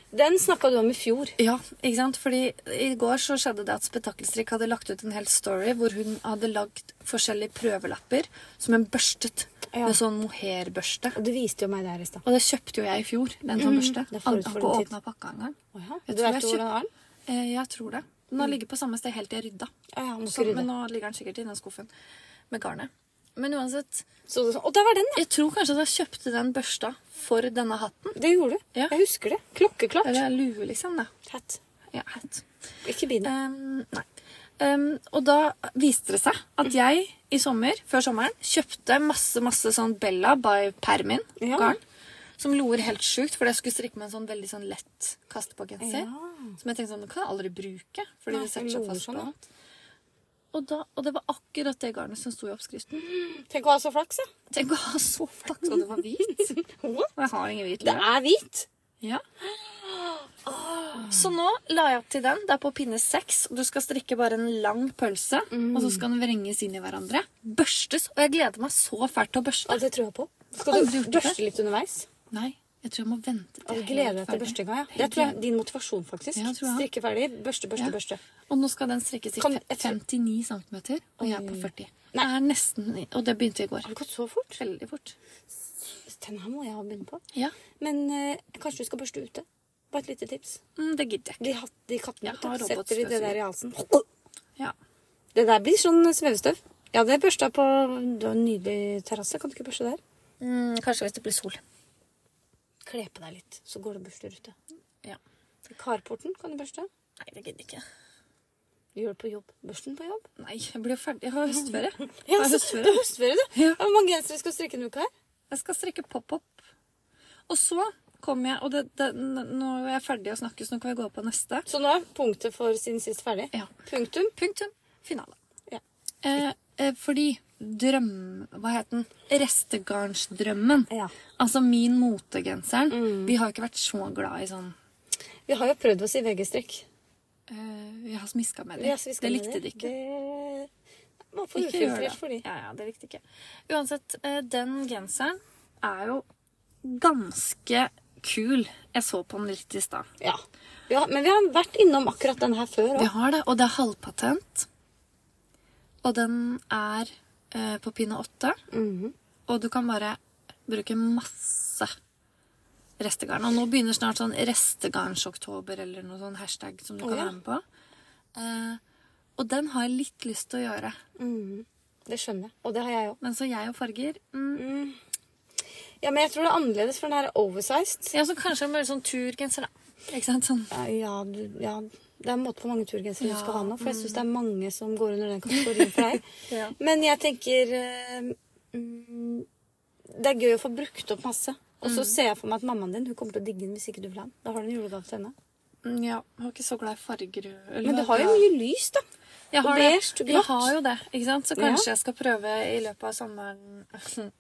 S2: Den snakka du om i fjor.
S1: Ja, ikke sant? Fordi i går så skjedde det at Spetakkelstrik hadde lagt ut en hel story hvor hun hadde lagd forskjellige prøvelapper som hun børstet
S2: Ja.
S1: med sånn mohair-børste.
S2: Og du viste jo meg der i stad.
S1: Og det kjøpte jo jeg i fjor, den sånn børste.
S2: Mhm. det er
S1: Han
S2: forut
S1: har
S2: for
S1: ikke
S2: din tid.
S1: åpna pakka engang.
S2: Å ja.
S1: Jeg tror
S2: Du vet
S1: jeg
S2: hvordan den er?
S1: Eh, jeg tror det. Den
S2: Mm.
S1: har ligget på samme sted helt til jeg rydda.
S2: Å ja, må
S1: Så,
S2: ikke rydde.
S1: men nå ligger den sikkert i den skuffen med garnet. Men uansett,
S2: Så, du sånn, og der var den, ja!
S1: jeg tror kanskje at jeg kjøpte den børsta for denne hatten.
S2: Det gjorde du.
S1: Ja.
S2: Jeg husker det. Klokkeklart.
S1: Eller lue, liksom. da.
S2: Hatt.
S1: Ja, hatt.
S2: Ikke bind.
S1: Ehm, nei. Ehm, og da viste det seg at jeg i sommer, før sommeren kjøpte masse masse sånn Bella by Permin
S2: Ja.
S1: garn. Som loer helt sjukt, fordi jeg skulle strikke med en sånn veldig sånn lett kastepågenser. Som jeg tenkte sånn, det kan jeg aldri bruke. fordi
S2: Nei,
S1: det setter
S2: den
S1: seg
S2: loer
S1: fast
S2: sånn,
S1: på
S2: ja.
S1: alt. Og, da, og det var akkurat det garnet som sto i oppskriften.
S2: Tenk å ha så flaks, ja.
S1: Tenk å ha så flaks at det var hvit!
S2: What?
S1: Og jeg har ingen hvit
S2: Det
S1: lue.
S2: er hvit.
S1: Ja. Så nå la jeg opp til den. Det er på pinne seks. og Du skal strikke bare en lang pølse, og så skal den vrenges inn i hverandre. Børstes. Og jeg gleder meg så fælt til å børste.
S2: Ja, det tror jeg på. Skal
S1: Aldri
S2: du
S1: gjort det.
S2: børste litt underveis?
S1: Nei, jeg tror jeg må vente
S2: Ja,
S1: til
S2: Du
S1: jeg er helt
S2: gleder deg til
S1: ferdig.
S2: børstinga, ja. Det
S1: Helt
S2: tror jeg
S1: enig.
S2: er din motivasjon, faktisk.
S1: Ja, tror jeg.
S2: Strikke ferdig, børste, børste,
S1: Ja.
S2: børste.
S1: Og nå skal den strikkes i
S2: Kan-
S1: fe-
S2: jeg tror-
S1: 59 cm, og jeg er på 40.
S2: Nei.
S1: Jeg er nesten, i- Og det begynte i går.
S2: Har det gått så fort?
S1: Veldig fort.
S2: Den her må jeg ha bunn på.
S1: Ja,
S2: Men eh, kanskje du skal børste ute? Bare et lite tips.
S1: mm, Det gidder jeg ikke.
S2: De, hat, de kattene
S1: Jeg
S2: vet du,
S1: har
S2: setter de det
S1: robotstøvsuger.
S2: der i halsen.
S1: Ja.
S2: Det der blir sånn svevestøv. Ja, det børsta på Du har en nydelig terrasse. Kan du ikke børste der?
S1: Mm, kanskje hvis det blir sol.
S2: Kle på deg litt, så går det og børster ute.
S1: Ja.
S2: I Karporten kan du børste.
S1: Nei, det gidder jeg ikke.
S2: Du gjør det på jobb. Børsten på jobb.
S1: Nei, jeg blir jo ferdig. Jeg har
S2: <laughs>
S1: høstferie. Jeg
S2: Ja,
S1: har
S2: så,
S1: høstferie.
S2: det er høstferie, du.
S1: Ja.
S2: Hvor mange gensere skal du strikke denne uka her?
S1: Jeg skal strikke pop-opp. Og så kommer jeg Og det, det, n- nå er jeg ferdig å snakke, så nå kan vi gå på neste.
S2: Så nå er punktet for siden sist ferdig.
S1: Ja.
S2: Punktum.
S1: Punktum. Finale.
S2: Ja.
S1: Eh, eh, fordi drøm... Hva het den? Restegarnsdrømmen.
S2: Ja. Mm.
S1: Altså min motegenseren. Vi har ikke vært så glad i sånn
S2: Vi har jo prøvd oss i VG-strekk.
S1: eh, Vi har smiska med
S2: Ja,
S1: dem.
S2: så vi skal
S1: det
S2: med
S1: likte de ikke.
S2: Det var for
S1: Ikke gjør det.
S2: ufiltrert for de.
S1: Ja, ja, det likte ikke. Uansett, eh, den genseren er jo ganske kul. Jeg så på den litt i stad.
S2: Ja. ja. Men vi har vært innom akkurat den her før
S1: Vi
S2: òg.
S1: har det, og det er halvpatent. Og den er eh, på pinne åtte.
S2: Mhm,
S1: Og du kan bare bruke masse restegarn. Og nå begynner snart sånn restegarnsoktober eller noe sånn hashtag som du kan
S2: ja.
S1: være med på. Eh, og den har jeg litt lyst til å gjøre.
S2: mhm. Det skjønner jeg. Og det har jeg òg.
S1: Men så jeg og farger mm.
S2: Ja, men jeg tror det er annerledes, for den her er oversized.
S1: Ja, så kanskje en mer sånn turgenser, da. Ikke sant? Sånn.
S2: Ja, Eh, ja, du, ja. Det er en måte på mange turgensere
S1: Ja, Mm.
S2: du skal ha nå, for jeg syns det er mange som går under den kategorien for deg.
S1: <laughs> Ja.
S2: Men jeg tenker eh, mm, Det er gøy å få brukt opp masse. Og
S1: Mm.
S2: så ser jeg for meg at mammaen din hun kommer til å digge den hvis ikke du vil ha den. Da har du en julegave til henne.
S1: Mm, Ja, jeg var ikke så glad i farger. eller
S2: Men du
S1: hva-
S2: har jo mye lys, da.
S1: Jeg har,
S2: Og beige,
S1: det.
S2: og
S1: jeg
S2: grått.
S1: har jo det, ikke sant? Så kanskje jeg skal prøve i løpet av sommeren <laughs>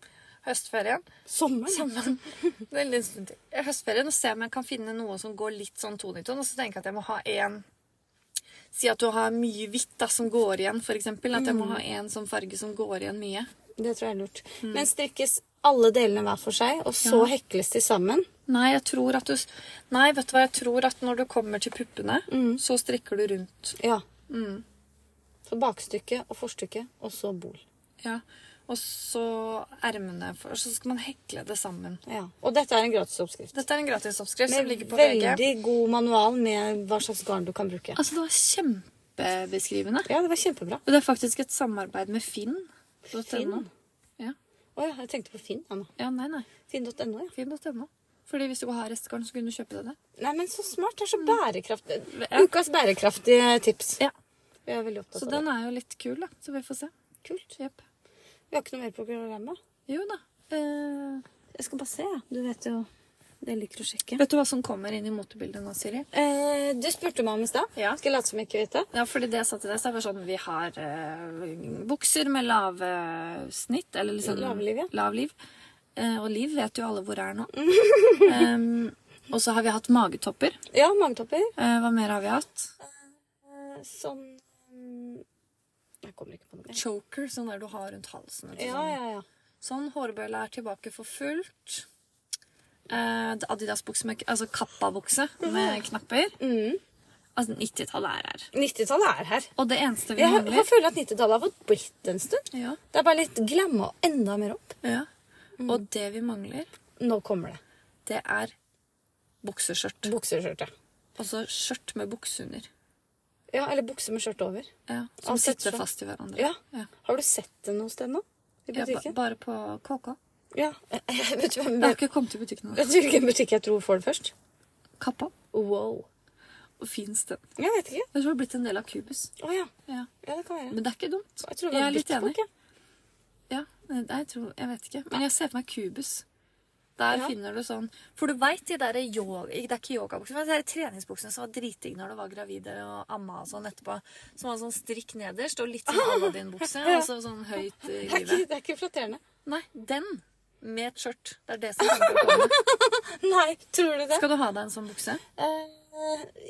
S1: Høstferien.
S2: Sommeren.
S1: Sommeren.
S2: <laughs>
S1: Det er en liten stund til. Høstferien og se om jeg kan finne noe som går litt sånn toniton. Og så tenker jeg at jeg må ha én Si at du har mye hvitt da, som går igjen, f.eks. At jeg må ha én sånn farge som går igjen mye.
S2: Det tror jeg er lurt.
S1: Mm.
S2: Men strikkes alle delene hver for seg, og så hekles de sammen.
S1: Nei, jeg tror at du s- Nei, vet du hva, jeg tror at når du kommer til puppene,
S2: Mm.
S1: så strikker du rundt.
S2: Ja.
S1: Mm.
S2: Så bakstykke og forstykke, og så bol.
S1: Ja. Og så ermene for- Så skal man hekle det sammen.
S2: Ja. Og dette er en gratis oppskrift.
S1: Dette er en gratisoppskrift som
S2: Med
S1: ligger på VG.
S2: veldig god manual med hva slags garn du kan bruke.
S1: Altså, det var kjempebeskrivende.
S2: Ja, det var kjempebra.
S1: Og det er faktisk et samarbeid med Finn.
S2: Finn?
S1: Ja.
S2: Å ja, jeg tenkte på Finn. Ja, nå.
S1: ja, nei, nei.
S2: Finn.no, ja.
S1: Finn.no. Fordi hvis du vil ha restegarn, så kunne du kjøpe det der.
S2: Nei, men så smart. Det er så bærekraftig.
S1: Ja.
S2: Ukas bærekraftige tips.
S1: Ja.
S2: Vi er veldig opptatt
S1: Så
S2: av det.
S1: den er jo litt kul, da. Så vi får se.
S2: Kult.
S1: Jepp.
S2: Vi har ikke noe mer på programmet.
S1: Jo da. Eh,
S2: Jeg skal bare se, jeg. Du vet jo det jeg liker å sjekke.
S1: vet du hva som kommer inn i motebildet nå, Siri?
S2: Eh, du spurte meg om i stad.
S1: Ja.
S2: Skal jeg late som jeg ikke vet det?
S1: Ja, fordi det jeg sa til deg, så er det sånn Vi har eh, bukser med lave snitt, eller liksom
S2: Lavliv, ja.
S1: lavliv. Eh, og liv vet jo alle hvor er
S2: <laughs>
S1: nå. Em, og så har vi hatt magetopper.
S2: Ja, magetopper.
S1: Eh, hva mer har vi hatt?
S2: Eh, Sånn mm, Jeg kommer ikke på noe.
S1: choker, sånn der du har rundt halsen. eller
S2: Ja,
S1: sånn.
S2: ja, ja.
S1: Sånn, hårbølla er tilbake for fullt. eh, Adidas-bukse med Altså kappabukse
S2: Mhm.
S1: med knapper. Altså 90-tallet er her.
S2: 90-tallet Mm. er her.
S1: Og det eneste vi
S2: Jeg, har- jeg <laughs>
S1: mangler
S2: føler at 90-tallet har fått blitt en stund.
S1: ja,
S2: Det er bare litt glamma enda mer opp.
S1: ja.
S2: Mm.
S1: Og det vi mangler,
S2: Nå kommer det.
S1: det er bukseskjørt.
S2: Bukseskjørtet.
S1: Altså skjørt med bukse under.
S2: Ja, eller bukse med skjørt over.
S1: Ja, som
S2: Altså,
S1: sitter
S2: så-
S1: fast i hverandre.
S2: Ja.
S1: Ja.
S2: Har du sett det noe sted nå? I
S1: Ja, ba,
S2: butikken?
S1: bare på KK.
S2: Ja. <laughs> Vet du hvem
S1: Det har ikke kommet i butikken ennå.
S2: Vet du hvilken butikk jeg tror får det først?
S1: Kappa.
S2: Wow.
S1: Og fins den.
S2: Jeg vet ikke.
S1: Jeg tror det har blitt en del av Cubus.
S2: Å ja.
S1: Ja.
S2: ja, det kan være.
S1: Men det er ikke dumt.
S2: Jeg tror det var
S1: er litt
S2: Bitcoin,
S1: enig. Ja, nei, jeg, tror, jeg vet ikke. Men jeg ser for meg kubus. Der
S2: Ja.
S1: finner du sånn For du veit de der yoga... Det er ikke yogabukser, men det er de treningsbuksene som var dritdigg når du var gravide og amma og sånn etterpå. Som var sånn strikk nederst og litt sånn <laughs> Aladdin-bukse. Og så sånn høyt i
S2: Det er ikke,
S1: livet.
S2: det er ikke flatterende.
S1: Nei, den med et skjørt. Det er det som kommer til å komme.
S2: Nei, tror du det?
S1: Skal du ha deg en sånn bukse?
S2: Eh,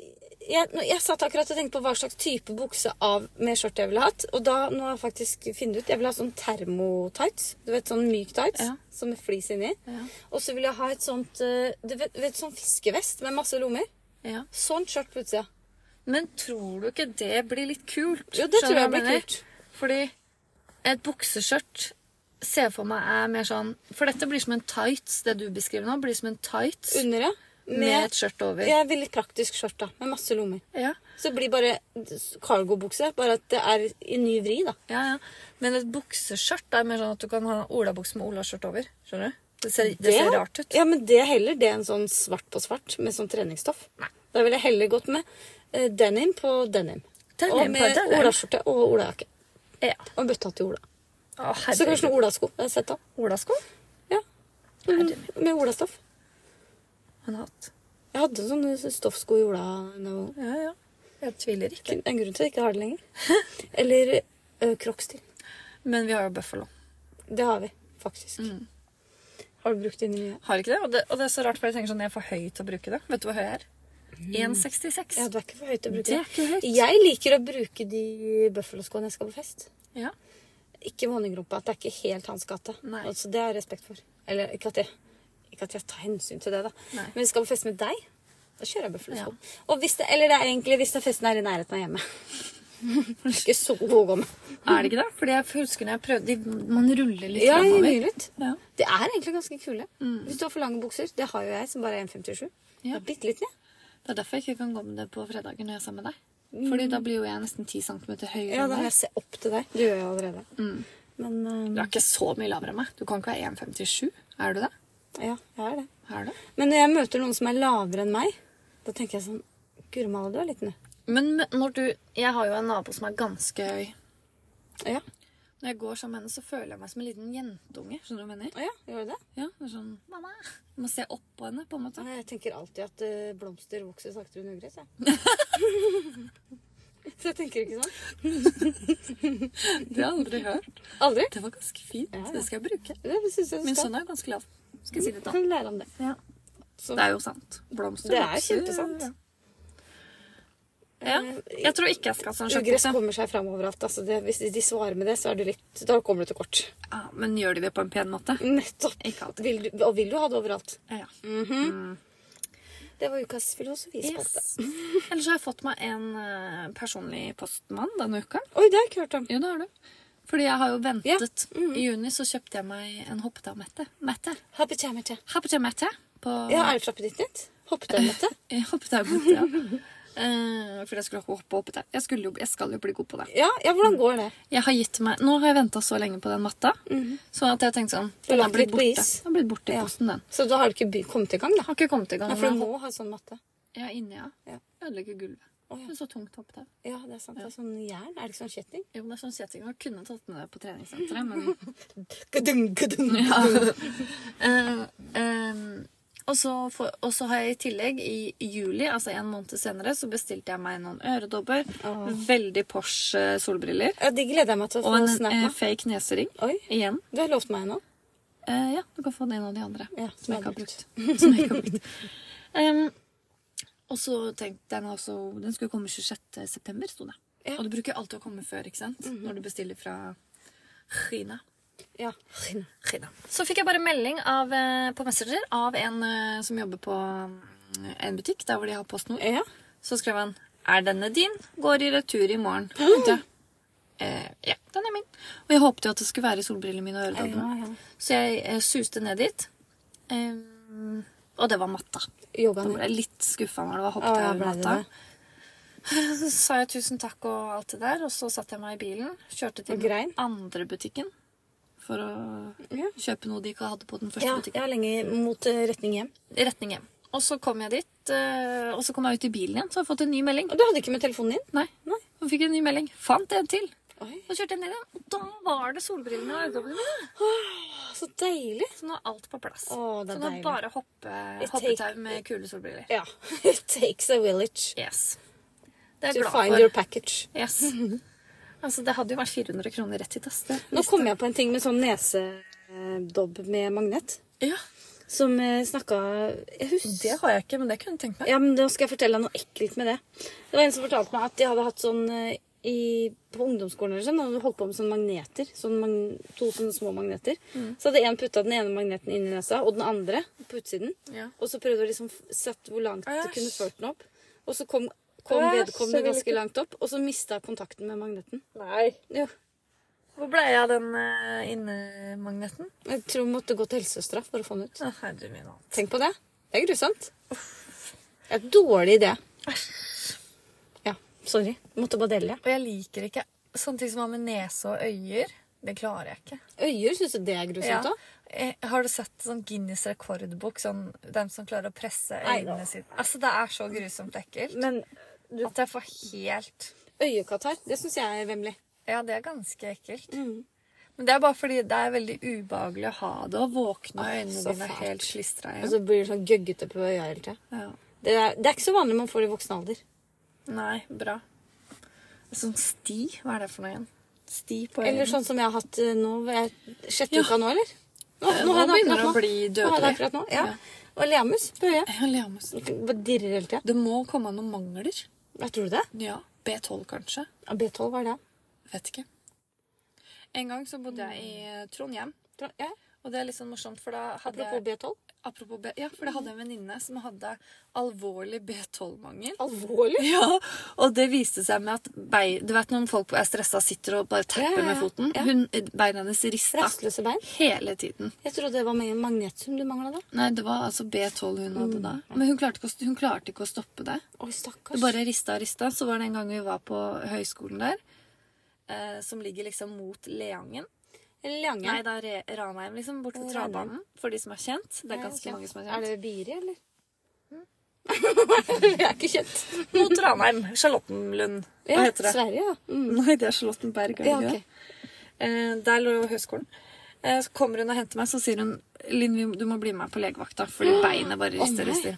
S2: jeg, nå- jeg satt akkurat og tenkte på hva slags type bukse av med skjørt jeg ville hatt. Og da nå har jeg faktisk funnet ut Jeg ville ha sånn termotights. Du vet sånn myk tights
S1: Ja.
S2: som er flis inni.
S1: Ja.
S2: Og så vil jeg ha et sånt eh, du vet, vet, sånn fiskevest med masse lommer.
S1: ja.
S2: Sånt skjørt på utsida.
S1: Men tror du ikke det blir litt kult?
S2: Jo, det tror
S1: Skjønner du
S2: jeg
S1: hva
S2: blir
S1: mener?
S2: kult.
S1: Fordi et bukseskjørt ser jeg for meg er mer sånn For dette blir som en tights, det du beskriver nå, blir som en tights
S2: Under, ja.
S1: med,
S2: Med,
S1: et skjørt over.
S2: jeg vil litt praktisk skjørt, da. Med masse lommer.
S1: Ja.
S2: Så det blir bare cargobukse. Bare at det er i ny vri, da.
S1: ja, ja. Men et bukseskjørt er mer sånn at du kan ha olabukse med olaskjørt over. Skjønner du? Det ser, det ser rart ut.
S2: Ja, men det er heller det enn sånn svart på svart med sånn treningsstoff. Da ville jeg heller gått med eh, denim på denim.
S1: Denim
S2: og
S1: på
S2: med
S1: denim.
S2: olaskjorte og olajakke.
S1: Ja.
S2: Og en bøttehatt i ola.
S1: Å,
S2: Så kanskje
S1: herregud.
S2: noen olasko. Jeg har sett da.
S1: Olasko?
S2: Ja. Mm, med olastoff.
S1: Han har hatt.
S2: Jeg hadde sånne stoffsko i ola. nå.
S1: Ja, ja. Jeg tviler ikke.
S2: En grunn til at jeg ikke har det lenger. <laughs> Eller uh, crocs-stil.
S1: Men vi har jo Buffalo.
S2: Det har vi, faktisk.
S1: Mm.
S2: Har du brukt det inni mye?
S1: Har ikke det? Og, det? og det er så rart, for jeg tenker sånn, jeg er for høy til å bruke det. Vet du hvor høy jeg er? 1,66.
S2: Ja, du er ikke for høy til å bruke
S1: Det er ikke høyt.
S2: Jeg liker å bruke de bøffeloskoene jeg skal på fest.
S1: Ja.
S2: Ikke våningrumpa. At det er ikke helt hans gate.
S1: Nei.
S2: Altså, det har jeg respekt for. Eller ikke at jeg, ikke at jeg tar hensyn til det, da.
S1: Nei.
S2: Men vi skal på fest med deg. Da kjører jeg bøffelosko. Og hvis det, eller det er egentlig hvis det festen er i nærheten av
S1: <laughs>
S2: hjemme. ikke så god å gå med.
S1: Er det ikke det? Fordi jeg husker når jeg prøvde de, Man ruller litt
S2: Ja, jeg
S1: fremover.
S2: lurer litt.
S1: Ja.
S2: De er egentlig ganske kule. Hvis du har for lange bukser. Det har jo jeg, som bare er 1,57.
S1: Mm. Ja.
S2: Jeg er Bitte liten, jeg.
S1: Det er derfor jeg ikke kan gå med det på fredager når jeg er sammen med deg. Fordi da blir jo jeg nesten 10 cm høyere
S2: Ja,
S1: enn
S2: da må
S1: deg.
S2: jeg se opp til deg. Det gjør jeg allerede.
S1: Mm.
S2: Men
S1: Du
S2: eh,
S1: er ikke så mye lavere enn meg. Du kan ikke være 1,57. Er du det?
S2: ja, jeg er det.
S1: Er du?
S2: Men når jeg møter noen som er lavere enn meg, da tenker jeg sånn Guri malla, du er liten, du.
S1: Men men når du Jeg har jo en nabo som er ganske høy.
S2: Ja.
S1: Når jeg går sammen med henne, så føler jeg meg som en liten jentunge. Skjønner du hva jeg mener?
S2: Å ja, gjør du det?
S1: Ja, det er sånn Mamma! Jeg må se opp på henne, på en måte.
S2: Nei, Jeg tenker alltid at eh, blomster vokser saktere
S1: <laughs>
S2: enn ugress, jeg. Så jeg tenker ikke sånn.
S1: Det har jeg aldri hørt.
S2: Aldri.
S1: Det var ganske fint.
S2: Ja, ja.
S1: Det skal jeg bruke.
S2: Det syns jeg du
S1: Min
S2: skal.
S1: sønn sånn er jo ganske lav. Skal jeg si det til han.
S2: Kan lære om det.
S1: Ja.
S2: Så-
S1: Det er jo sant. Blomster
S2: Det er
S1: vokser,
S2: kjempesant.
S1: ja. Ja. Jeg tror ikke jeg skal ha sånn
S2: Ugress
S1: skjøttbukse.
S2: kommer seg fram overalt. Altså det, hvis de svarer med det, så er du litt Da kommer du til kort.
S1: Ja, men gjør de det på en pen måte?
S2: Nettopp.
S1: Ikke alltid.
S2: Vil du, og vil du ha det overalt?
S1: Ja.
S2: Det var ukas filosofispalte.
S1: Yes. Ellers har jeg fått meg en eh, personlig postmann denne uka.
S2: Oi, det har jeg ikke hørt om.
S1: Jo, det har du. Fordi jeg har jo ventet.
S2: Ja. Mm.
S1: I juni så kjøpte jeg meg en hoppetau-mette. Mette.
S2: Happy chamete.
S1: Hoppetau-mette på
S2: Ja, er det fra appetitten ditt? Hoppet jeg med det?
S1: i hoppetau-mette. Ja. Eh, fordi jeg skulle hoppe hoppetau. Jeg, skulle jo, jeg skal jo bli god på det.
S2: <laughs> Ja, ja, hvordan går det?
S1: Jeg har gitt meg, nå har jeg venta så lenge på den matta, så at jeg tenkte sånn
S2: Du har
S1: Den har blitt
S2: lagt Mhm. litt på
S1: borte.
S2: is.
S1: Den har blitt borte i
S2: Ja.
S1: posten, den.
S2: Så da har du ikke by- kommet i gang, da?
S1: Har ikke kommet i gang.
S2: Nei,
S1: men
S2: for
S1: jeg
S2: du
S1: har
S2: må ha sånn matte.
S1: Ja, inni, ja.
S2: Ja.
S1: Ødelegger gulvet.
S2: Å, ja.
S1: Det er så tungt hoppetau.
S2: Ja, det er sant. Det er sånn jern. Er det ikke sånn kjetting?
S1: Jo, det er sånn setting jeg kunne tatt med det på treningssenteret,
S2: <laughs>
S1: men
S2: Gadung, gadung.
S1: Eh, eh, og, så får- og så har jeg i tillegg, i juli, altså en måned senere, så bestilte jeg meg noen øredobber, veldig Porsche solbriller
S2: Ja, de gleder jeg meg til
S1: og
S2: å få
S1: en
S2: snap
S1: eh,
S2: med.
S1: fake nesering.
S2: Oi,
S1: Igjen.
S2: du har lovt meg nå.
S1: Eh, ja, du kan få en av de andre.
S2: Ja,
S1: Som jeg ikke har brukt. <laughs> Som jeg ikke har brukt. Em, og så tenkte jeg nå også, Den skulle komme 26. september, sto det.
S2: Ja.
S1: Mhm. Og det bruker alltid å komme før, ikke sant? Når du bestiller fra Kina.
S2: Ja.
S1: Skida. Så fikk jeg bare melding av, eh, på Messenger av en eh, som jobber på mm, en butikk der hvor de har PostNord.
S2: ja.
S1: Så skrev han 'Er denne din? Går i retur i morgen'.
S2: <gasps>
S1: Så tenkte jeg, Eh, ja, den er min. Og jeg håpet jo at det skulle være solbrillene mine og øredobber.
S2: ja.
S1: Så jeg eh, suste ned dit. Eh, og det var matta.
S2: Yoga
S1: Da
S2: ned.
S1: ble jeg litt skuffa når det var
S2: Å,
S1: hoppet
S2: ja,
S1: over
S2: ble det
S1: natta. <laughs> Så sa jeg tusen takk og alt det der, og så satte jeg meg i bilen. Kjørte til
S2: Og
S1: den
S2: grein?
S1: andre butikken for å
S2: Ja.
S1: kjøpe noe de ikke hadde på den første
S2: Ja,
S1: butikken.
S2: jeg er lenge mot eh, retning hjem.
S1: I retning hjem. Og så kom jeg dit, eh, og så kom jeg ut i bilen igjen, så har jeg fått en ny melding.
S2: Og du hadde ikke med telefonen din?
S1: Nei,
S2: Nei.
S1: så fikk jeg en ny melding. Fant en til.
S2: Oi,
S1: Og kjørte jeg ned igjen, og da var det solbrillene og øredobbene mine.
S2: så deilig.
S1: Så nå er alt på plass.
S2: Å, det
S1: så
S2: er
S1: nå er
S2: deilig.
S1: bare hoppe,
S2: It take-
S1: hoppetau med kule solbriller.
S2: Ja. <laughs> It takes a village
S1: Yes. Det er
S2: to
S1: jeg glad
S2: find
S1: for.
S2: your package.
S1: Yes. <laughs> Altså, det hadde jo vært 400 kroner rett hit, ass. Det.
S2: Nå kom jeg på en ting med sånn nesedobb med magnet.
S1: Ja,
S2: Som eh, snakka Jeg husker
S1: det har jeg ikke, men det kunne jeg tenkt meg.
S2: Ja, men da skal jeg fortelle deg noe ekkelt med det. Det var en som fortalte meg at de hadde hatt sånn eh, i, på ungdomsskolen eller sånn, og holdt på med sånne magneter. Sånn mag to sånne små magneter.
S1: Mm.
S2: Så hadde en putta den ene magneten inn i nesa, og den andre på utsiden.
S1: Ja.
S2: Og så prøvde hun liksom f- sett hvor langt
S1: Æsj.
S2: det kunne ført den opp. Og så kom, kom
S1: Æsj, jeg
S2: vedkommende
S1: vil
S2: ganske
S1: ikke-
S2: langt opp, og så mista kontakten med magneten.
S1: Nei.
S2: Jo,
S1: Hvor ble jeg av den uh, innemagneten?
S2: jeg tror hun måtte gå til helsesøstera for å få den ut.
S1: Å, herre min hatt.
S2: Tenk på det. Det er grusomt. Det er en dårlig idé. Ja, sorry. Måtte bare dele det.
S1: Og jeg liker ikke sånne ting som har med nese og øyer. Det klarer jeg ikke.
S2: Øyer syns du det er grusomt òg?
S1: Eh, Har du sett sånn Guinness rekordbok? Sånn, dem som klarer å presse
S2: Nei,
S1: øynene
S2: da.
S1: sine. Altså, Det er så grusomt ekkelt
S2: Men
S1: at jeg får helt
S2: øyekatarr, det syns jeg er vemmelig.
S1: Ja, det er ganske ekkelt. Men det er bare fordi det er veldig ubehagelig å ha det, og våkne og øynene
S2: så
S1: dine er
S2: fælt.
S1: helt slistra
S2: Og
S1: igjen.
S2: så blir du sånn gøggete på øya hele tida.
S1: Ja.
S2: Det, er- det er ikke så vanlig man får det i voksen alder.
S1: Nei, bra. Sånn sti, hva er det for noe igjen? Sti på øynene.
S2: Eller sånn som jeg har hatt eh, nå er jeg Sjette
S1: Ja.
S2: uka nå, eller? Nå,
S1: Eh,
S2: nå, har jeg det
S1: begynner det
S2: akkurat
S1: å bli
S2: Nå har jeg det
S1: dødelig.
S2: akkurat nå, ja.
S1: Ja.
S2: Og leamus på øya.
S1: Ja, Leamus.
S2: Bare dirrer hele tida.
S1: Det må komme noen mangler.
S2: Jeg tror det.
S1: Ja. B12, kanskje.
S2: Ja, B12 var det.
S1: Vet ikke. En gang så bodde jeg i eh, Trondheim,
S2: Tror- Ja,
S1: og det er litt sånn morsomt, for da hadde
S2: apropos
S1: jeg
S2: B12.
S1: Apropos B, ja, for jeg hadde en venninne som hadde alvorlig B12-mangel.
S2: Alvorlig.
S1: <laughs> Ja, og det viste seg med at bei, Du vet når folk er stressa sitter og bare
S2: Ja,
S1: tepper
S2: ja, ja.
S1: med foten?
S2: Ja.
S1: Hun, beina hennes rista
S2: Rastløse bein.
S1: hele tiden.
S2: Jeg trodde det var ma- magnesium du mangla da.
S1: Nei, det var altså B12 hun hadde da. Men hun klarte ikke å, hun klarte ikke å stoppe det.
S2: Oi,
S1: Det
S2: stakkars.
S1: bare rista og rista. Så var det en gang vi var på høyskolen der, eh, som ligger liksom mot Leangen.
S2: Lange.
S1: Nei, da Re Ranheim, liksom, bort til
S2: Ranheim.
S1: travbanen. For de som er kjent. Det er ganske mange som er
S2: Er
S1: kjent. Hm?
S2: det Biri, eller? <laughs> jeg er ikke kjent.
S1: Mot Ranheim. Charlottenlund. Hva heter det?
S2: Sverige, ja. Mm.
S1: Nei, det er Charlottenberg. er det
S2: Ja,
S1: ikke
S2: ok.
S1: det? Eh, der lå høyskolen. Eh, så kommer hun og henter meg, så sier hun Linn, vi- du må bli med meg på legevakta, fordi beinet bare rister.
S2: nei.
S1: rister.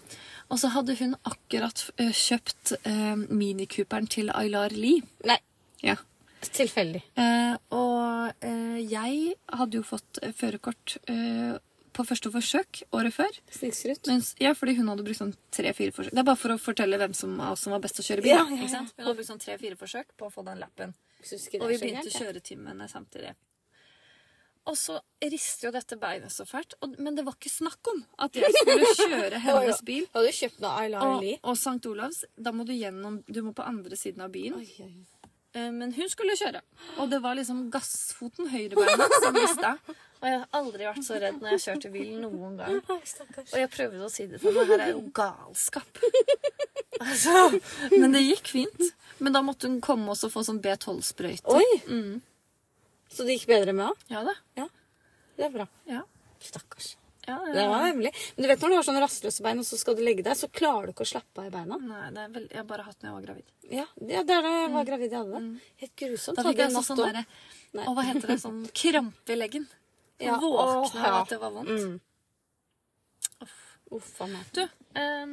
S1: Og så hadde hun akkurat eh, kjøpt eh, minikuperen til Aylar Lie.
S2: Nei,
S1: Ja.
S2: tilfeldig.
S1: Eh, og eh, jeg hadde jo fått eh, førerkort eh, på første forsøk året før.
S2: Snikskrutt.
S1: Mens, ja, fordi hun hadde brukt sånn tre-fire forsøk. Det er bare for å fortelle hvem som, av oss som var best til å kjøre bil.
S2: Ja,
S1: da,
S2: ja, ja.
S1: ikke sant? Hun hadde brukt sånn tre-fire forsøk på å få den lappen. Og vi begynte kjøretimene samtidig. Og så rister jo dette beinet så fælt. Og, men det var ikke snakk om at jeg
S2: <laughs>
S1: skulle kjøre hennes bil.
S2: Hadde du kjøpt noe Ayla
S1: Og,
S2: Lee?
S1: og St. Olavs, da må du gjennom Du må på andre siden av byen. Eh, Men hun skulle kjøre. Og det var liksom gassfoten, høyrebeinet, som mista. Og jeg har aldri vært så redd når jeg kjørte bil noen gang.
S2: Stakkars.
S1: Og jeg prøvde å si det for meg. Her er jo galskap. Altså, men det gikk fint. Men da måtte hun komme også og få sånn B12-sprøyte.
S2: Oi! Mm. Så det gikk bedre med henne?
S1: Ja da.
S2: Det er bra.
S1: Ja.
S2: Stakkars.
S1: Ja, ja,
S2: Det var hemmelig. Men du vet når du har sånne rastløse bein, og så skal du legge deg, så klarer du ikke å slappe av i beina.
S1: Nei, det er vel, jeg har bare hatt den når jeg var gravid.
S2: Ja, det det er da jeg var gravid jeg hadde det. Helt grusomt.
S1: Mm. Da fikk
S2: Hadde
S1: jeg også
S2: natt
S1: sånn
S2: også.
S1: derre
S2: Nei.
S1: Og hva heter det? Sånn
S2: <laughs>
S1: krampe i leggen.
S2: Ja,
S1: Ja, Våkne
S2: åh,
S1: av
S2: ja.
S1: at det var vondt.
S2: Mm. Uff a meg.
S1: Du, ehm,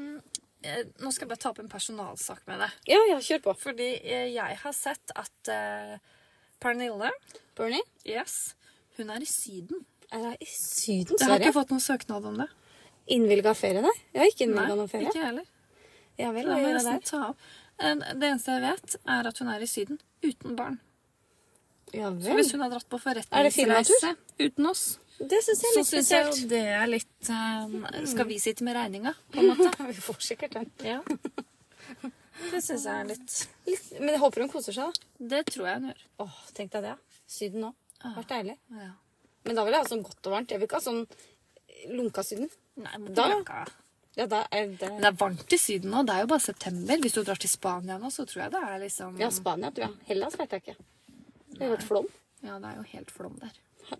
S1: eh, nå skal jeg bare ta opp en personalsak med deg.
S2: Ja, ja, kjør på.
S1: Fordi eh, jeg har sett at eh, Pernille
S2: Bernie,
S1: Yes. Hun er i Syden.
S2: er jeg i Syden,
S1: Jeg har
S2: Sverige?
S1: ikke fått noen søknad om det.
S2: Innvilga ferie, nei? Jeg har ikke innvilga noen
S1: ikke
S2: ferie.
S1: jeg heller.
S2: Ja vel,
S1: Det,
S2: hva
S1: må jeg
S2: gjør jeg
S1: nesten
S2: der?
S1: ta av. Eh, det eneste jeg vet, er at hun er i Syden uten barn.
S2: Ja
S1: Så
S2: vel.
S1: hvis hun har dratt på
S2: Er det fin natur?
S1: forretningsreise uten oss,
S2: Det syns jeg er
S1: så
S2: litt
S1: syns jeg jo
S2: spesielt.
S1: det er litt eh, Skal vi sitte med regninga, på en måte?
S2: <laughs> Vi får sikkert den.
S1: Ja. <laughs> Det syns jeg er litt
S2: Litt, men jeg håper hun koser seg, da.
S1: Det tror jeg hun gjør.
S2: Åh, tenk deg det. ja. Syden òg. Vært deilig.
S1: Ja.
S2: Men da vil jeg ha sånn godt og varmt. Jeg vil ikke ha sånn lunka Syden.
S1: Nei, men det
S2: Da?
S1: er ikke-
S2: Ja, da er det
S1: Men det er varmt i Syden nå. Det er jo bare september. Hvis du drar til Spania nå, så tror jeg det er liksom
S2: Ja, Spania, tror jeg. Hellas vet jeg ikke. Det har vært flom.
S1: Ja, det er jo helt flom der.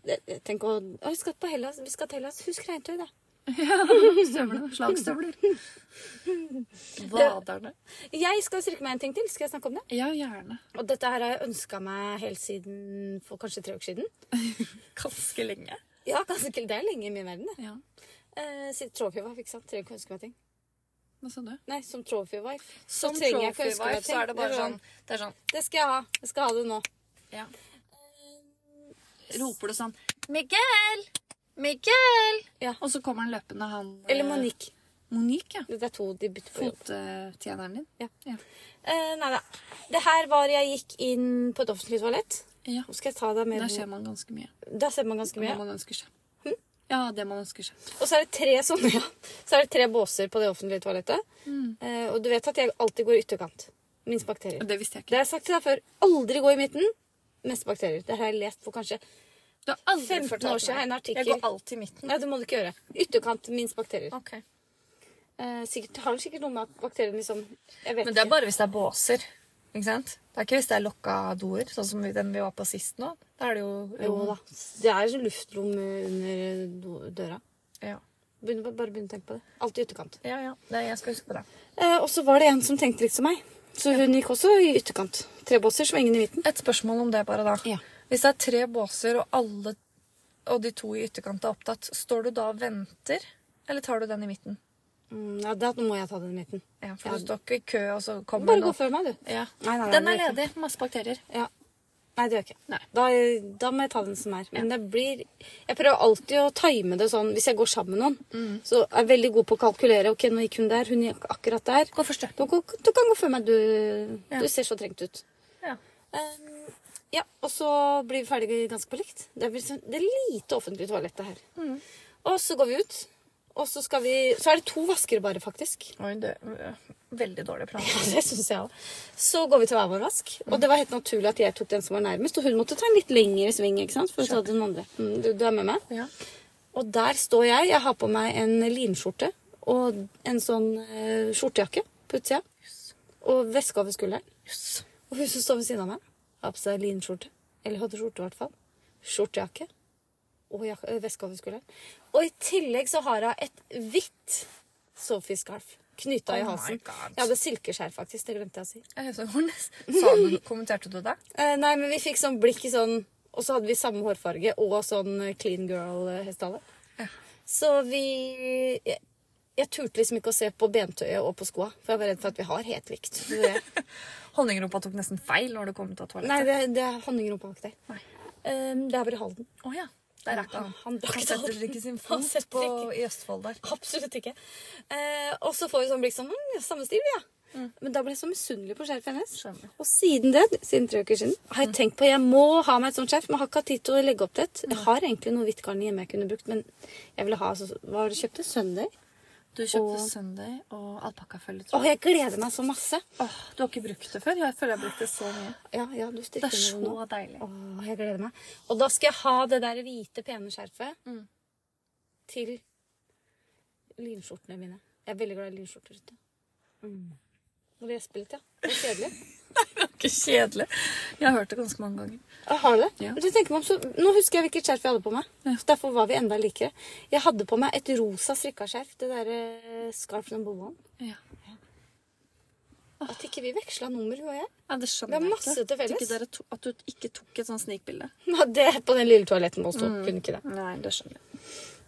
S2: Det- jeg Tenk å Å, vi skal på Hellas. Vi skal til Hellas. Husk regntøy, da.
S1: Støvler. Slagstøvler. Vaderne.
S2: Jeg skal strikke meg en ting til. Skal jeg snakke om det?
S1: Ja, gjerne.
S2: Og dette her har jeg ønska meg helt siden for kanskje tre uker siden.
S1: Ganske lenge.
S2: Ja, ganske Det er lenge i min verden, det.
S1: Ja.
S2: Eh, siden trophy-wife, ikke sant? Trenger ikke å ønske meg ting.
S1: Hva sa du?
S2: Nei, som trophy-wife.
S1: Som
S2: så trenger jeg ikke å ønske meg
S1: trophy-wife,
S2: ting.
S1: så er det bare
S2: er
S1: sånn Det er sånn
S2: Det skal jeg ha. Jeg skal ha det nå.
S1: ja. Roper du sånn 'Miguel! Miguel!'
S2: Ja.
S1: Og så kommer han løpende, han
S2: Eller
S1: eh,
S2: Monique.
S1: Monique, ja.
S2: Det er to de bytter på jobb.
S1: Fottjeneren din.
S2: Ja.
S1: Ja.
S2: Eh, nei da. Det her var jeg gikk inn på et offentlig toalett.
S1: ja.
S2: Nå skal jeg ta deg med.
S1: Der ser man ganske mye.
S2: Der ser man ganske
S1: Det
S2: mye.
S1: man ønsker seg.
S2: Hm?
S1: Ja, det man ønsker seg.
S2: Og så er det tre sånne, <laughs> ja. Så er det tre båser på det offentlige toalettet. Eh, og du vet at jeg alltid går i ytterkant. Minst bakterier.
S1: Mm. Det visste jeg
S2: Det
S1: ikke.
S2: har jeg sagt til deg før. Aldri gå i midten. Mest bakterier. Det har jeg lest for kanskje
S1: Du har aldri
S2: 15
S1: fortalt
S2: år siden
S1: meg.
S2: en artikkel.
S1: Jeg går alltid i midten.
S2: Nei, det må du ikke gjøre. Ytterkant, minst bakterier.
S1: Ok.
S2: Eh, sikkert, har det sikkert noe med at bakteriene liksom Jeg vet
S1: Men det er bare hvis det er båser. Ikke sant? Det er ikke hvis det er lokka doer, sånn som den vi var på sist nå. Da er det
S2: ikke.
S1: jo
S2: Jo da. Det er sånn luftrom eh, under do- døra.
S1: Ja.
S2: Begynn, bare begynn å tenke på det. Alltid ytterkant.
S1: ja, ja. Det, jeg skal huske på det.
S2: Eh, og så var det en som tenkte litt som meg. Så hun gikk også i ytterkant. Tre båser, så var ingen i midten.
S1: Et spørsmål om det bare, da.
S2: Ja.
S1: Hvis det er tre båser, og alle og de to i ytterkant er opptatt, står du da og venter? Eller tar du den i midten?
S2: Mm, ja, da må jeg ta den i midten.
S1: Ja, for du står ikke i kø, og så kommer
S2: Bare
S1: den
S2: gå
S1: opp.
S2: før meg, du.
S1: Ja.
S2: Nei, nei, nei,
S1: Den
S2: det
S1: er
S2: gjør jeg
S1: ledig. Masse bakterier.
S2: Ja. Nei, det gjør jeg ikke.
S1: Nei.
S2: Da, da må jeg ta den som er. Men det blir Jeg prøver alltid å time det sånn hvis jeg går sammen med noen. Så er jeg veldig god på å kalkulere. Ok, nå gikk hun der, hun gikk akkurat der.
S1: Gå først,
S2: Du, kan- du kan gå før meg, du.
S1: Ja.
S2: Du ser så trengt ut.
S1: Ja.
S2: Um, ja, og så blir vi ferdige ganske på likt. Det er, vel sånn- det er lite offentlig toalett, det her. Og så går vi ut. Og så skal vi Så er det to vaskere bare, faktisk. <laughs>
S1: Oi, det veldig dårlig plan.
S2: Det synes jeg også. Så går vi til hver vår vask. Og det var helt naturlig at jeg tok den som var nærmest. Og hun måtte ta en litt lengre sving. ikke sant? For å ta den andre. Mm, du, du er med meg?
S1: Ja.
S2: Og der står jeg. Jeg har på meg en linskjorte og en sånn eh, skjortejakke på utsida. Og veske over skulderen.
S1: Jøss.
S2: Og hun som står ved siden av meg, har på seg linskjorte. Eller hadde skjorte, i hvert fall. Skjortejakke. Og jak- eh, veske over skulderen. Og i tillegg så har hun et hvitt Sophie-skarf knytta
S1: Oh
S2: i
S1: my
S2: halsen.
S1: God.
S2: Jeg hadde silkeskjær, faktisk. Det glemte jeg å si.
S1: Jeg heter Hornes. Sa du,
S2: <laughs>
S1: kommenterte du det?
S2: Eh, nei, men vi fikk sånn blikk i sånn Og så hadde vi samme hårfarge og sånn eh, clean girl-hestehale. Så vi jeg, jeg turte liksom ikke å se på bentøyet og på skoa, for jeg var redd for at vi har helt likt. Så det-
S1: Honningrumpa tok nesten feil når du kom ut av toalettet.
S2: Nei, det, det er honningrumpa bak der.
S1: Nei.
S2: Um, det er bare Halden.
S1: Å ja. Der rakk han.
S2: Han- han rakk
S1: han
S2: det
S1: setter
S2: aldri.
S1: ikke sin
S2: Han
S1: fot
S2: setter
S1: på,
S2: ikke-
S1: i Østfold der.
S2: <laughs> Absolutt ikke. Eh, og så får vi sånn blikk sånn «Hm, ja, Samme stil, ja. Men da ble jeg så misunnelig på skjerfet hennes.
S1: Mm. Skjønner. Mm.
S2: Og siden det, siden tre uker siden, har jeg tenkt på jeg må ha meg et sånt skjerf. Men jeg har ikke hatt tid til å legge opp det.
S1: Mm.
S2: Jeg har egentlig noe hvitt garn hjemme jeg kunne brukt, men jeg ville ha så, Hva var det du kjøpte? Søndag?
S1: Du
S2: kjøpte
S1: kjøpte søndag og alpakkafølge,
S2: Å, jeg gleder meg så masse.
S1: du har ikke brukt det før? Jeg føler jeg har brukt det så mye.
S2: Ja, ja, du
S1: Det
S2: strikker
S1: er
S2: med
S1: så
S2: nå.
S1: deilig.
S2: Å, jeg gleder meg. Og da skal jeg ha det der hvite, pene skjerfet
S1: Mm.
S2: til linskjortene mine. Jeg er veldig glad i linskjorter. vet du. Mm. Nå vil jeg spille litt, ja. Det er kjedelig. <laughs>
S1: Ikke kjedelig. Jeg har hørt det ganske mange ganger.
S2: Ja, Har du det?
S1: Ja.
S2: Du tenker meg om, så, nå husker jeg hvilket skjerf jeg hadde på meg.
S1: Ja.
S2: Så Derfor var vi enda likere. Jeg hadde på meg et rosa strikka skjerf. Det derre scarf number one.
S1: Ja,
S2: At ikke vi veksla nummer, hun og jeg. <laughs>
S1: Det skjønner
S2: Vi har
S1: jeg
S2: masse til felles.
S1: At, ikke dere to, at du ikke tok et sånt snikbilde.
S2: Nå, det på den lille toaletten vår sto. Kunne ikke det.
S1: Nei, det skjønner jeg.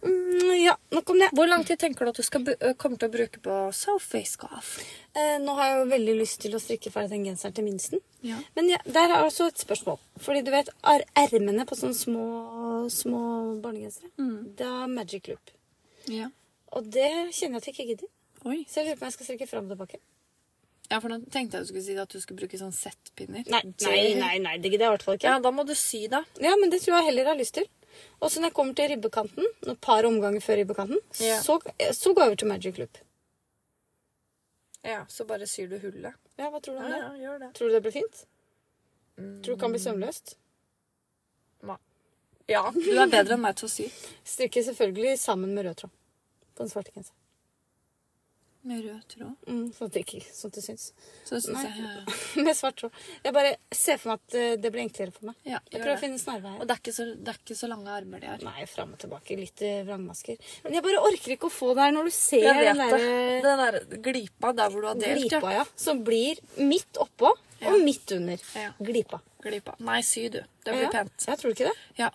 S2: Mm, ja, nok om det.
S1: Hvor lang tid tenker du at du skal bu- ø, kommer til å bruke på Sophie-scarf?
S2: Eh, nå har jeg jo veldig lyst til å strikke ferdig den genseren til minsten.
S1: Ja.
S2: Men ja, der er også et spørsmål. Fordi du vet, er ermene på sånne små, små barnegensere,
S1: Mm.
S2: det er magic loop.
S1: Ja.
S2: Og det kjenner jeg at jeg ikke gidder.
S1: Oi.
S2: Så jeg lurer på om jeg skal strikke fram og tilbake.
S1: Ja, for nå tenkte jeg du skulle si at du skulle bruke sånn settpinner.
S2: Nei, nei, nei, nei det gidder jeg i hvert fall ikke.
S1: Ja, da må du sy, da.
S2: Ja, men det tror jeg heller jeg har lyst til. Og så når jeg kommer til ribbekanten, et par omganger før ribbekanten,
S1: Ja.
S2: så, så går jeg over til Magic Loop.
S1: Ja, Så bare syr du hullet.
S2: Ja, hva tror du om det?
S1: gjør det.
S2: Tror du det blir fint?
S1: Mm.
S2: Tror du det kan bli sømløst?
S1: Ja, Du er bedre enn meg til å sy.
S2: Strikker selvfølgelig sammen med rød tråd på den svarte genseren.
S1: Med rød tråd.
S2: Mm, sånn at det ikke sånn at det syns. <laughs>
S1: Så det syns
S2: Nei.
S1: jeg ja, ja.
S2: med svart tråd. Jeg bare ser for meg at eh, det blir enklere for meg.
S1: Ja,
S2: Jeg
S1: gjør
S2: prøver å
S1: det.
S2: finne snarveier.
S1: Og det er, ikke så, det er ikke så lange armer de har.
S2: Nei, fram og tilbake. Litt eh, vrangmasker. Men jeg bare orker ikke å få det her når du ser
S1: Jeg vet
S2: den
S1: det.
S2: der eh,
S1: Den der glipa der hvor du har delt,
S2: glipa, ja. Som blir midt oppå og midt under.
S1: Ja.
S2: Glipa.
S1: Glipa. Nei, sy, du. Det blir
S2: ja.
S1: pent.
S2: Jeg tror ikke det.
S1: Ja.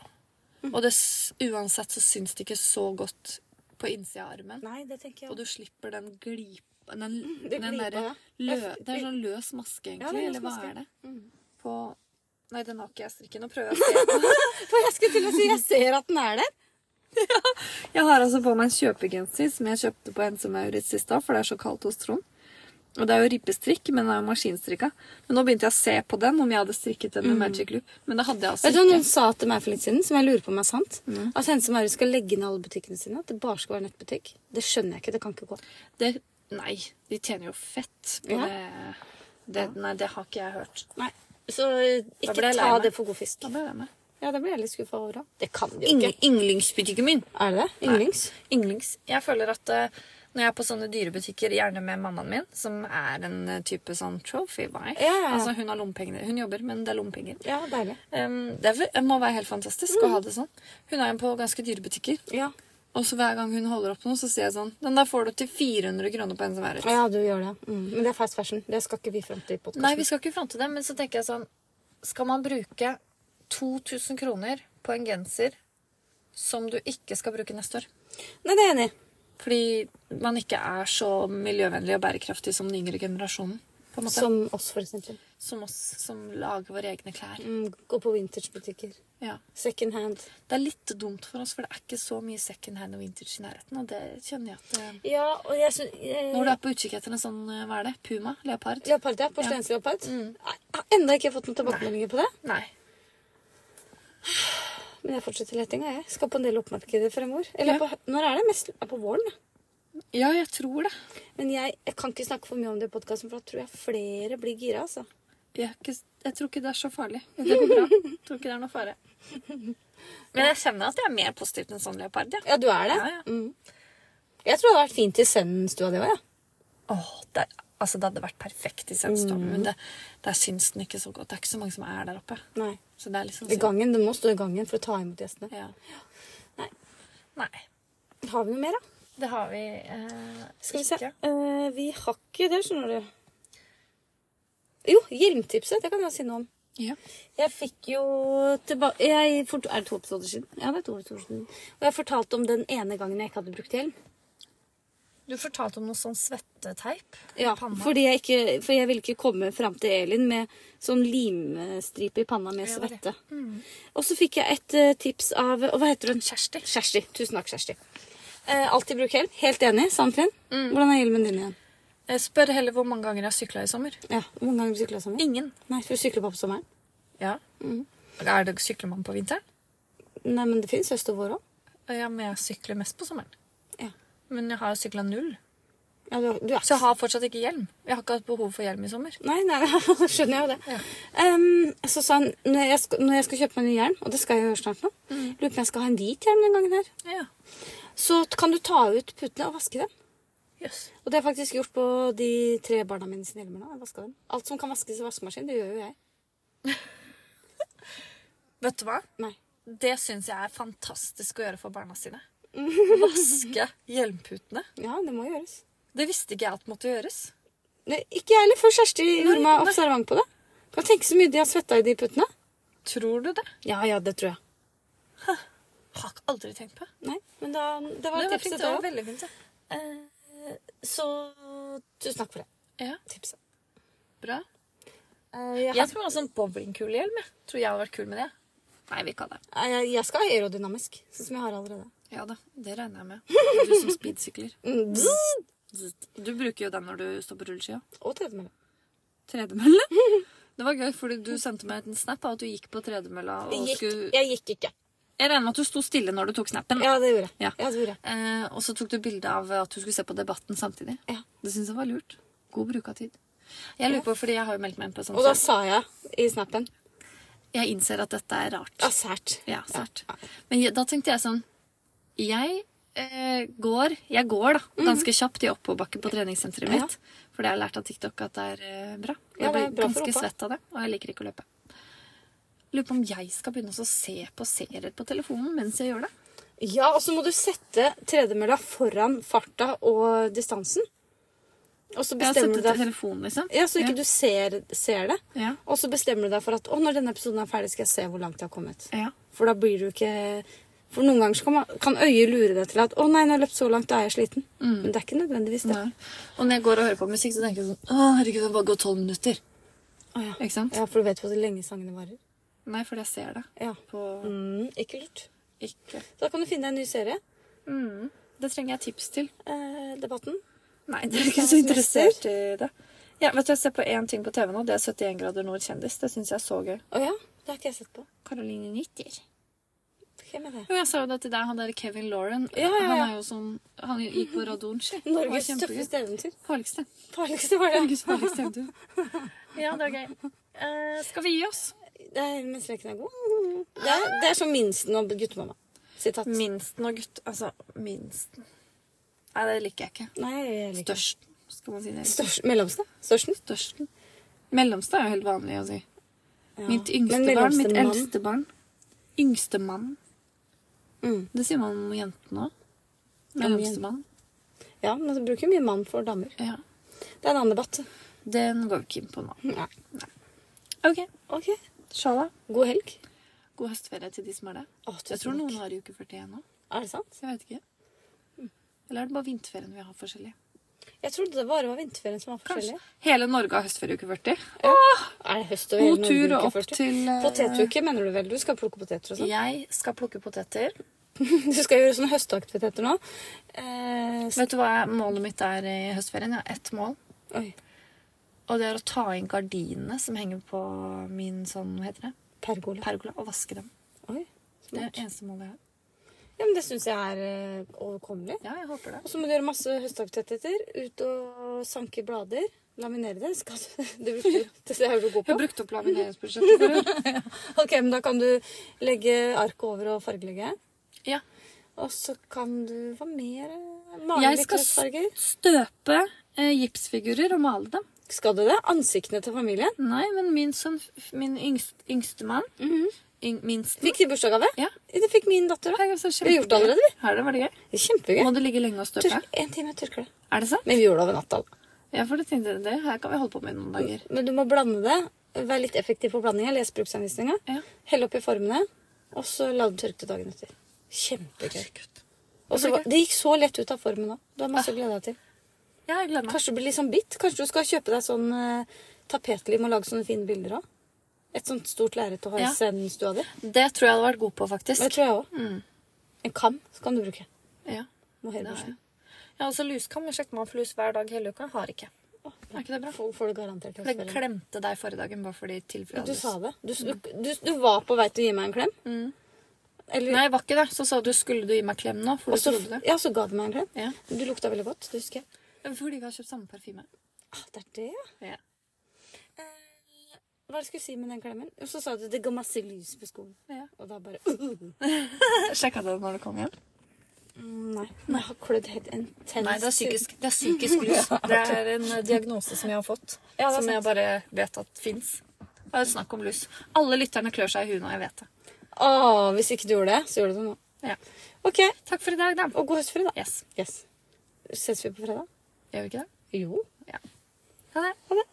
S1: Og det, s- uansett så syns det ikke så godt på innsida av armen.
S2: Nei, det tenker
S1: Og du slipper den glipa Den,
S2: det
S1: den
S2: glipa,
S1: derre
S2: ja.
S1: lø,
S2: Jeg-
S1: Det er sånn løs maske,
S2: Ja,
S1: egentlig.
S2: det er løs
S1: eller hva
S2: maske.
S1: er
S2: Mm.
S1: det? På Nei, den har ikke jeg strikken. Nå prøver
S2: <laughs>
S1: jeg å se.
S2: For jeg skulle til å si jeg ser at den er der.
S1: Jeg har altså på meg en kjøpegenser som jeg kjøpte på Ense Maurits i stad, for det er så kaldt hos Trond. Og det er jo ribbestrikk, men det er jo maskinstrikka. Men nå begynte jeg å se på den, om jeg hadde strikket den med Magic Loop. Men det hadde jeg altså
S2: Mm. Vet du hva
S1: ikke.
S2: noen sa til meg for litt siden, som jeg lurer på om er sant? At Hense Maurits skal legge ned alle butikkene sine. At det bare skal være nettbutikk. Det skjønner jeg ikke. Det kan ikke gå.
S1: Det, nei, de tjener jo fett på
S2: Ja.
S1: det. det. Nei, det har ikke jeg hørt.
S2: Nei. Så eh,
S1: ble
S2: ikke
S1: jeg lei
S2: ta
S1: meg.
S2: det for god fisk.
S1: Da ble jeg med.
S2: Ja, det blir jeg litt skuffa over òg. Det kan de jo ikke.
S1: Yngl- Yndlingsbutikken min.
S2: Er det det? Ynglings?
S1: Ynglings. Jeg føler at eh, når jeg er på sånne dyrebutikker, gjerne med mammaen min, som er en eh, type sånn trophy wife
S2: Ja, ja, ja.
S1: Altså, hun har lommepenger. Hun jobber, men det er lommepenger.
S2: Ja, deilig.
S1: Ehm, det er vel- må være helt fantastisk å ha det sånn. Hun er jo på ganske dyre butikker.
S2: Ja.
S1: Og så hver gang hun holder opp noe, så sier jeg sånn Den der får du til 400 kroner på en som er ute.
S2: ja, du gjør det. Mm. Men det er fast fashion. Det skal ikke vi fram til i
S1: Nei,
S2: podkasten.
S1: vi skal ikke fronte det, men så tenker jeg sånn Skal man bruke 2000 kroner på en genser som du ikke skal bruke neste år?
S2: Nei, det er jeg enig i.
S1: Fordi man ikke er så miljøvennlig og bærekraftig som den yngre generasjonen. På en måte. Som,
S2: Som oss, for eksempel.
S1: oss som lager våre egne klær.
S2: Mm, gå på vintagebutikker.
S1: Ja.
S2: Second hand.
S1: Det er litt dumt for oss, for det er ikke så mye second hand og vintage i nærheten. Og det kjenner jeg at eh,
S2: Ja, og jeg syns eh,
S1: Når du er på utkikk etter en sånn eh, hva er det? puma? Leopard?
S2: Leopard, ja. Porselensleopard. Jeg har ennå ikke fått noen tilbakemeldinger på det.
S1: Nei.
S2: Men jeg fortsetter letinga, jeg. Skal på en del oppmarkeder fremover. Eller
S1: Ja.
S2: på, når er det? Mest er på våren. ja.
S1: Ja, jeg tror det.
S2: Men jeg, jeg kan ikke snakke for mye om det i podkasten, for da tror jeg flere blir gira, altså.
S1: Jeg, har ikke, jeg tror ikke det er så farlig. Det går bra. Jeg <laughs> tror ikke det er noe fare. Men jeg kjenner at jeg er mer positiv til en sånn leopard. Ja.
S2: Ja, du er det?
S1: Ja, ja.
S2: Mm. Jeg tror det hadde vært fint i søndagstua di òg, jeg.
S1: Åh, det, er- altså, det hadde vært perfekt i Sandstorm, men det, der syns den ikke så godt. Det er ikke så mange som er der oppe.
S2: Nei.
S1: Så det er liksom
S2: I gangen, Du må stå i gangen for å ta imot gjestene.
S1: Ja.
S2: Nei.
S1: Nei.
S2: Har vi noe mer, da?
S1: Det har vi eh,
S2: Skal vi se.
S1: ikke.
S2: Eh, vi har ikke det, skjønner du. Jo, hjelmtipset. Det kan jeg si noe om.
S1: Ja.
S2: Jeg fikk jo tilbake jeg, fort- Er det to episoder siden? Ja, det er to episoder siden. Og jeg fortalte om den ene gangen jeg ikke hadde brukt hjelm.
S1: Du fortalte om noe sånn svetteteip.
S2: Ja,
S1: Panna.
S2: fordi jeg ikke, For jeg ville ikke komme fram til Elin med sånn limstripe i panna med
S1: Ja, det Mm. var det.
S2: svette. Og så fikk jeg et eh, tips av og Hva heter hun?
S1: Kjersti.
S2: Kjersti. Tusen takk, Kjersti. Eh, alltid bruk hjelm. Helt enig. Sandfinn.
S1: Mm.
S2: Hvordan er hjelmen din igjen?
S1: Jeg spør heller hvor mange ganger jeg har sykla i sommer.
S2: Ja, Hvor mange ganger sykla sammen?
S1: Ingen.
S2: Nei, for du sykler bare på sommeren.
S1: Ja. Er det, sykler man på vinteren?
S2: Nei, men det fins høst og vår òg.
S1: Ja, men jeg sykler mest på sommeren.
S2: Ja.
S1: Men jeg har sykla null.
S2: Ja, du, du er
S1: Så jeg har fortsatt ikke hjelm. Jeg har ikke hatt behov for hjelm i sommer.
S2: Nei, nei, <laughs> da skjønner jeg jo det. Em, så sa han når jeg, skal, når jeg skal kjøpe meg en ny hjelm, og det skal jeg gjøre snart nå
S1: Mm.
S2: Lurer på om jeg skal ha en hvit hjelm den gangen her.
S1: Ja.
S2: Så t- kan du ta ut putene og vaske dem.
S1: Jøss.
S2: Og det har jeg faktisk gjort på de tre barna mine sine hjelmer nå. Jeg vasket dem. Alt som kan vaskes i vaskemaskin, det gjør jo jeg.
S1: Vet du hva?
S2: Nei.
S1: Det syns jeg er fantastisk å gjøre for barna <laughs> sine. Vaske hjelmputene.
S2: Ja, det må gjøres.
S1: Det visste ikke jeg at måtte gjøres.
S2: Nei, ikke jeg heller, før Kjersti gjorde meg
S1: nei.
S2: observant på det. Kan du tenke så mye de har svetta i de puttene.
S1: Tror du det?
S2: Ja, ja, det tror jeg.
S1: Har ikke aldri tenkt på.
S2: Nei, men da, det var
S1: Det var fint,
S2: tipset
S1: det
S2: da.
S1: var veldig fint. ja.
S2: Så tusen takk for det.
S1: Ja,
S2: Tipset.
S1: bra.
S2: Eh, jeg,
S1: Jeg tror også en bowlingkulehjelm. jeg. Tror jeg hadde vært kul med det. Nei, vi kan det.
S2: har- Eh, jeg, jeg skal ha aerodynamisk, sånn som jeg har allerede.
S1: Ja da, det regner jeg <laughs> med. Du som speedsykler.
S2: Mm, bzz,
S1: Du bruker jo den når du står på rulleski.
S2: og tredemølle.
S1: tredemølle. Det var gøy, fordi du sendte meg en snap av at du gikk på tredemølla. og
S2: Gikk,
S1: skulle...
S2: jeg gikk ikke.
S1: Jeg regner med at du sto stille når du tok snappen.
S2: Ja, det gjorde jeg.
S1: Ja.
S2: det gjorde jeg.
S1: Eh, og så tok du bilde av at du skulle se på Debatten samtidig.
S2: Ja.
S1: Det syns jeg var lurt. God bruk av tid. Jeg lurer på, fordi jeg har jo meldt meg inn på sånn
S2: Og da sa jeg i snappen
S1: Jeg innser at dette er rart.
S2: Ja, sært.
S1: Ja, sært. Men jeg, da tenkte jeg sånn Jeg eh, går jeg går da, ganske kjapt i oppoverbakke på treningssenteret
S2: Mhm. Ja.
S1: mitt. For det har jeg lært av TikTok at det er eh, bra. Og
S2: Ja,
S1: jeg
S2: det
S1: blir
S2: er bra for
S1: ganske
S2: rumpa.
S1: svett av det, og jeg liker ikke å løpe. Lurer på om jeg skal begynne også å se på serier på telefonen mens jeg gjør det.
S2: Ja, og så må du sette tredemølla foran farta og distansen. Og så
S1: Jeg har
S2: bestemmer
S1: sett
S2: du
S1: det
S2: deg
S1: telefonen, liksom.
S2: Ja, så ikke
S1: ja.
S2: du ser, ser det.
S1: Ja.
S2: Og så bestemmer du deg for at å, når denne episoden er ferdig, skal jeg se hvor langt jeg har kommet.
S1: Ja.
S2: For da blir du ikke For noen ganger så kan, man, kan øyet lure deg til at å nei, nå har jeg løpt så langt, da er jeg sliten. Men det er ikke nødvendigvis det.
S1: Mm. Nei. Og når jeg går og hører på musikk, så tenker jeg sånn Å, herregud, det bare går tolv minutter.
S2: Å, ja.
S1: Ikke sant?
S2: ja, for du vet hvor lenge sangene varer.
S1: Nei, fordi jeg ser det
S2: Ja.
S1: på
S2: Mm, ikke lurt.
S1: ikke.
S2: Så Da kan du finne deg en ny serie.
S1: Mm. Det trenger jeg tips til.
S2: Eh, debatten.
S1: Nei, dere er ikke så interessert i det. Ja, vet du, Jeg ser på én ting på TV nå. Det er 71 grader nord kjendis. Det syns jeg er så gøy.
S2: Å ja? Det har ikke jeg sett på.
S1: Caroline Nitter.
S2: Hvem er det?
S1: Jo, jeg sa jo det til deg. Han der Kevin Lauren.
S2: Ja, ja, ja.
S1: Han er jo sånn Han gikk på <laughs> Radonski. Det var
S2: Norges
S1: kjempegøy.
S2: tøffeste eventyr.
S1: Farligste.
S2: Farligste var det.
S1: Norges farligste eventyr. <laughs> Ja, det var gøy. Eh, skal vi gi oss?
S2: det er, mens leken er god. Det er, det er som minsten og guttemamma. Sitat.
S1: Minsten og gutt... Altså, minsten Nei, det liker jeg ikke.
S2: Nei, jeg liker det.
S1: Størsten, skal man si det.
S2: Størst, mellomste? Størsten?
S1: Størsten. Mellomste er jo helt vanlig å si.
S2: Ja.
S1: Mitt yngste
S2: Men
S1: barn,
S2: mellomste
S1: mitt
S2: mann.
S1: eldste barn. Yngste mann.
S2: Mm.
S1: Det sier man om jentene òg.
S2: jentene.
S1: Mellomste mann.
S2: Ja, men du bruker mye mann for damer.
S1: Ja.
S2: Det er en annen debatt.
S1: Den går vi ikke inn på nå.
S2: Nei.
S1: OK.
S2: Ok.
S1: Shala.
S2: God helg.
S1: God høstferie til de som har det.
S2: Å,
S1: Jeg tror noen har i uke 41 nå.
S2: Er det sant?
S1: Så jeg vet ikke. Eller er det bare vinterferien vi har forskjellige?
S2: Jeg trodde det bare var vinterferien som var
S1: Kanskje.
S2: forskjellig.
S1: Hele Norge har høstferie i uke 40.
S2: Er det høst og
S1: God
S2: hele
S1: tur
S2: Norge
S1: og
S2: uke
S1: opp
S2: 40?
S1: til eh,
S2: Potetuke, mener du vel? Du skal plukke poteter og sånn.
S1: Jeg skal plukke poteter.
S2: <laughs> Du skal gjøre sånne høstaktiviteter nå. Eh, s-
S1: Vet du hva jeg- målet mitt er i høstferien? Jeg har ett mål.
S2: Oi.
S1: Og det er å ta inn gardinene som henger på min sånn, hva heter det,
S2: Pergola.
S1: pergola, og vaske dem.
S2: Oi.
S1: Det er
S2: Smart.
S1: det eneste målet jeg har.
S2: Ja, men det syns jeg er eh, overkommelig.
S1: Ja, jeg håper det.
S2: Og så må du gjøre masse høstaktiviteter. Ut og sanke blader. Laminere det. Skal du, <laughs> det, bruker du, det er du god
S1: Jeg
S2: på.
S1: har brukt opp lamineringsbudsjettet før.
S2: Ok, men Da kan du legge arket over og fargelegge.
S1: <laughs> Ja.
S2: Og så kan du Hva mer? eh, Male
S1: Jeg
S2: litt
S1: skal s-
S2: løsfarger.
S1: Støpe eh, gipsfigurer og male dem.
S2: Skal du det? Ansiktene til familien?
S1: Nei, men min sønn, min yngst, yngste mann, yng, minsten
S2: Fikk de bursdagsgave?
S1: Mhm. Ja.
S2: Det fikk min datter òg.
S1: Herregud, så
S2: Vi har gjort
S1: kjempegøy.
S2: det allerede, vi.
S1: Har det vært gøy?
S2: Kjempegøy.
S1: Må det ligge lenge og støpe?
S2: Tørk, en time tørker det.
S1: Er det sant?
S2: Men vi gjorde det over natta. da.
S1: Ja, for det tenkte jeg, det her kan vi holde på med i noen dager.
S2: Men du må blande det. Vær litt effektiv på blandinga. Les bruksanvisninga.
S1: Ja.
S2: Hell oppi formene. Og så la det tørke til dagen etter. Kjempegøy.
S1: Herregud.
S2: Og så var- Det gikk så lett ut av formen òg. Du har
S1: Ah.
S2: masse å glede deg til.
S1: Ja, jeg gleder meg.
S2: Kanskje du blir litt sånn bitt. Kanskje du skal kjøpe deg sånn eh, tapetlim og lage sånne fine bilder av. Et sånt stort lerret å ha
S1: Ja.
S2: i scenestua di.
S1: Det tror jeg hadde vært god på,
S2: Det
S1: faktisk.
S2: tror jeg òg.
S1: Mm.
S2: En kam så kan du bruke.
S1: Ja. Det har
S2: Mohairbrushen.
S1: jeg. Jeg har også luskam. Jeg sjekket meg for lus hver dag hele uka. Har ikke.
S2: Å,
S1: Er ikke det bra?
S2: Får får du garantert
S1: Det
S2: høstferie.
S1: klemte deg forrige dagen bare fordi tilfellet hadde
S2: Du sa det. Du, du, du, du var på vei til å gi meg en klem.
S1: Mm.
S2: Eller,
S1: Nei, jeg var ikke det. Så sa du skulle du gi meg klem nå, for
S2: og
S1: du
S2: så,
S1: trodde det.
S2: ja, så ga du meg en klem.
S1: Ja.
S2: Du lukta veldig godt, det husker jeg.
S1: Fordi vi har kjøpt samme parfyme.
S2: Ah, det er det, ja.
S1: Ja.
S2: Hva er det jeg skulle si med den klemmen? Og så sa du det ga masse lys på skolen.
S1: Ja.
S2: Og da bare <laughs> uh.
S1: Sjekka du det når du kom hjem?
S2: mm, Nei, men jeg har klødd helt intenst.
S1: Nei, det er psykisk, det er psykisk <laughs> lus. Det er en eh, diagnose som jeg har fått,
S2: Ja, det er
S1: som
S2: sant.
S1: jeg bare vet at fins. Det er snakk om lus. Alle lytterne klør seg i huet nå, jeg vet det.
S2: Å, hvis ikke du gjorde det, så gjør du det nå.
S1: Ja.
S2: OK,
S1: Takk for i dag, da.
S2: og god høstferie, da.
S1: Yes.
S2: Yes. Ses vi på fredag?
S1: Gjør vi ikke det?
S2: Jo.
S1: Ha det.
S2: Ha det.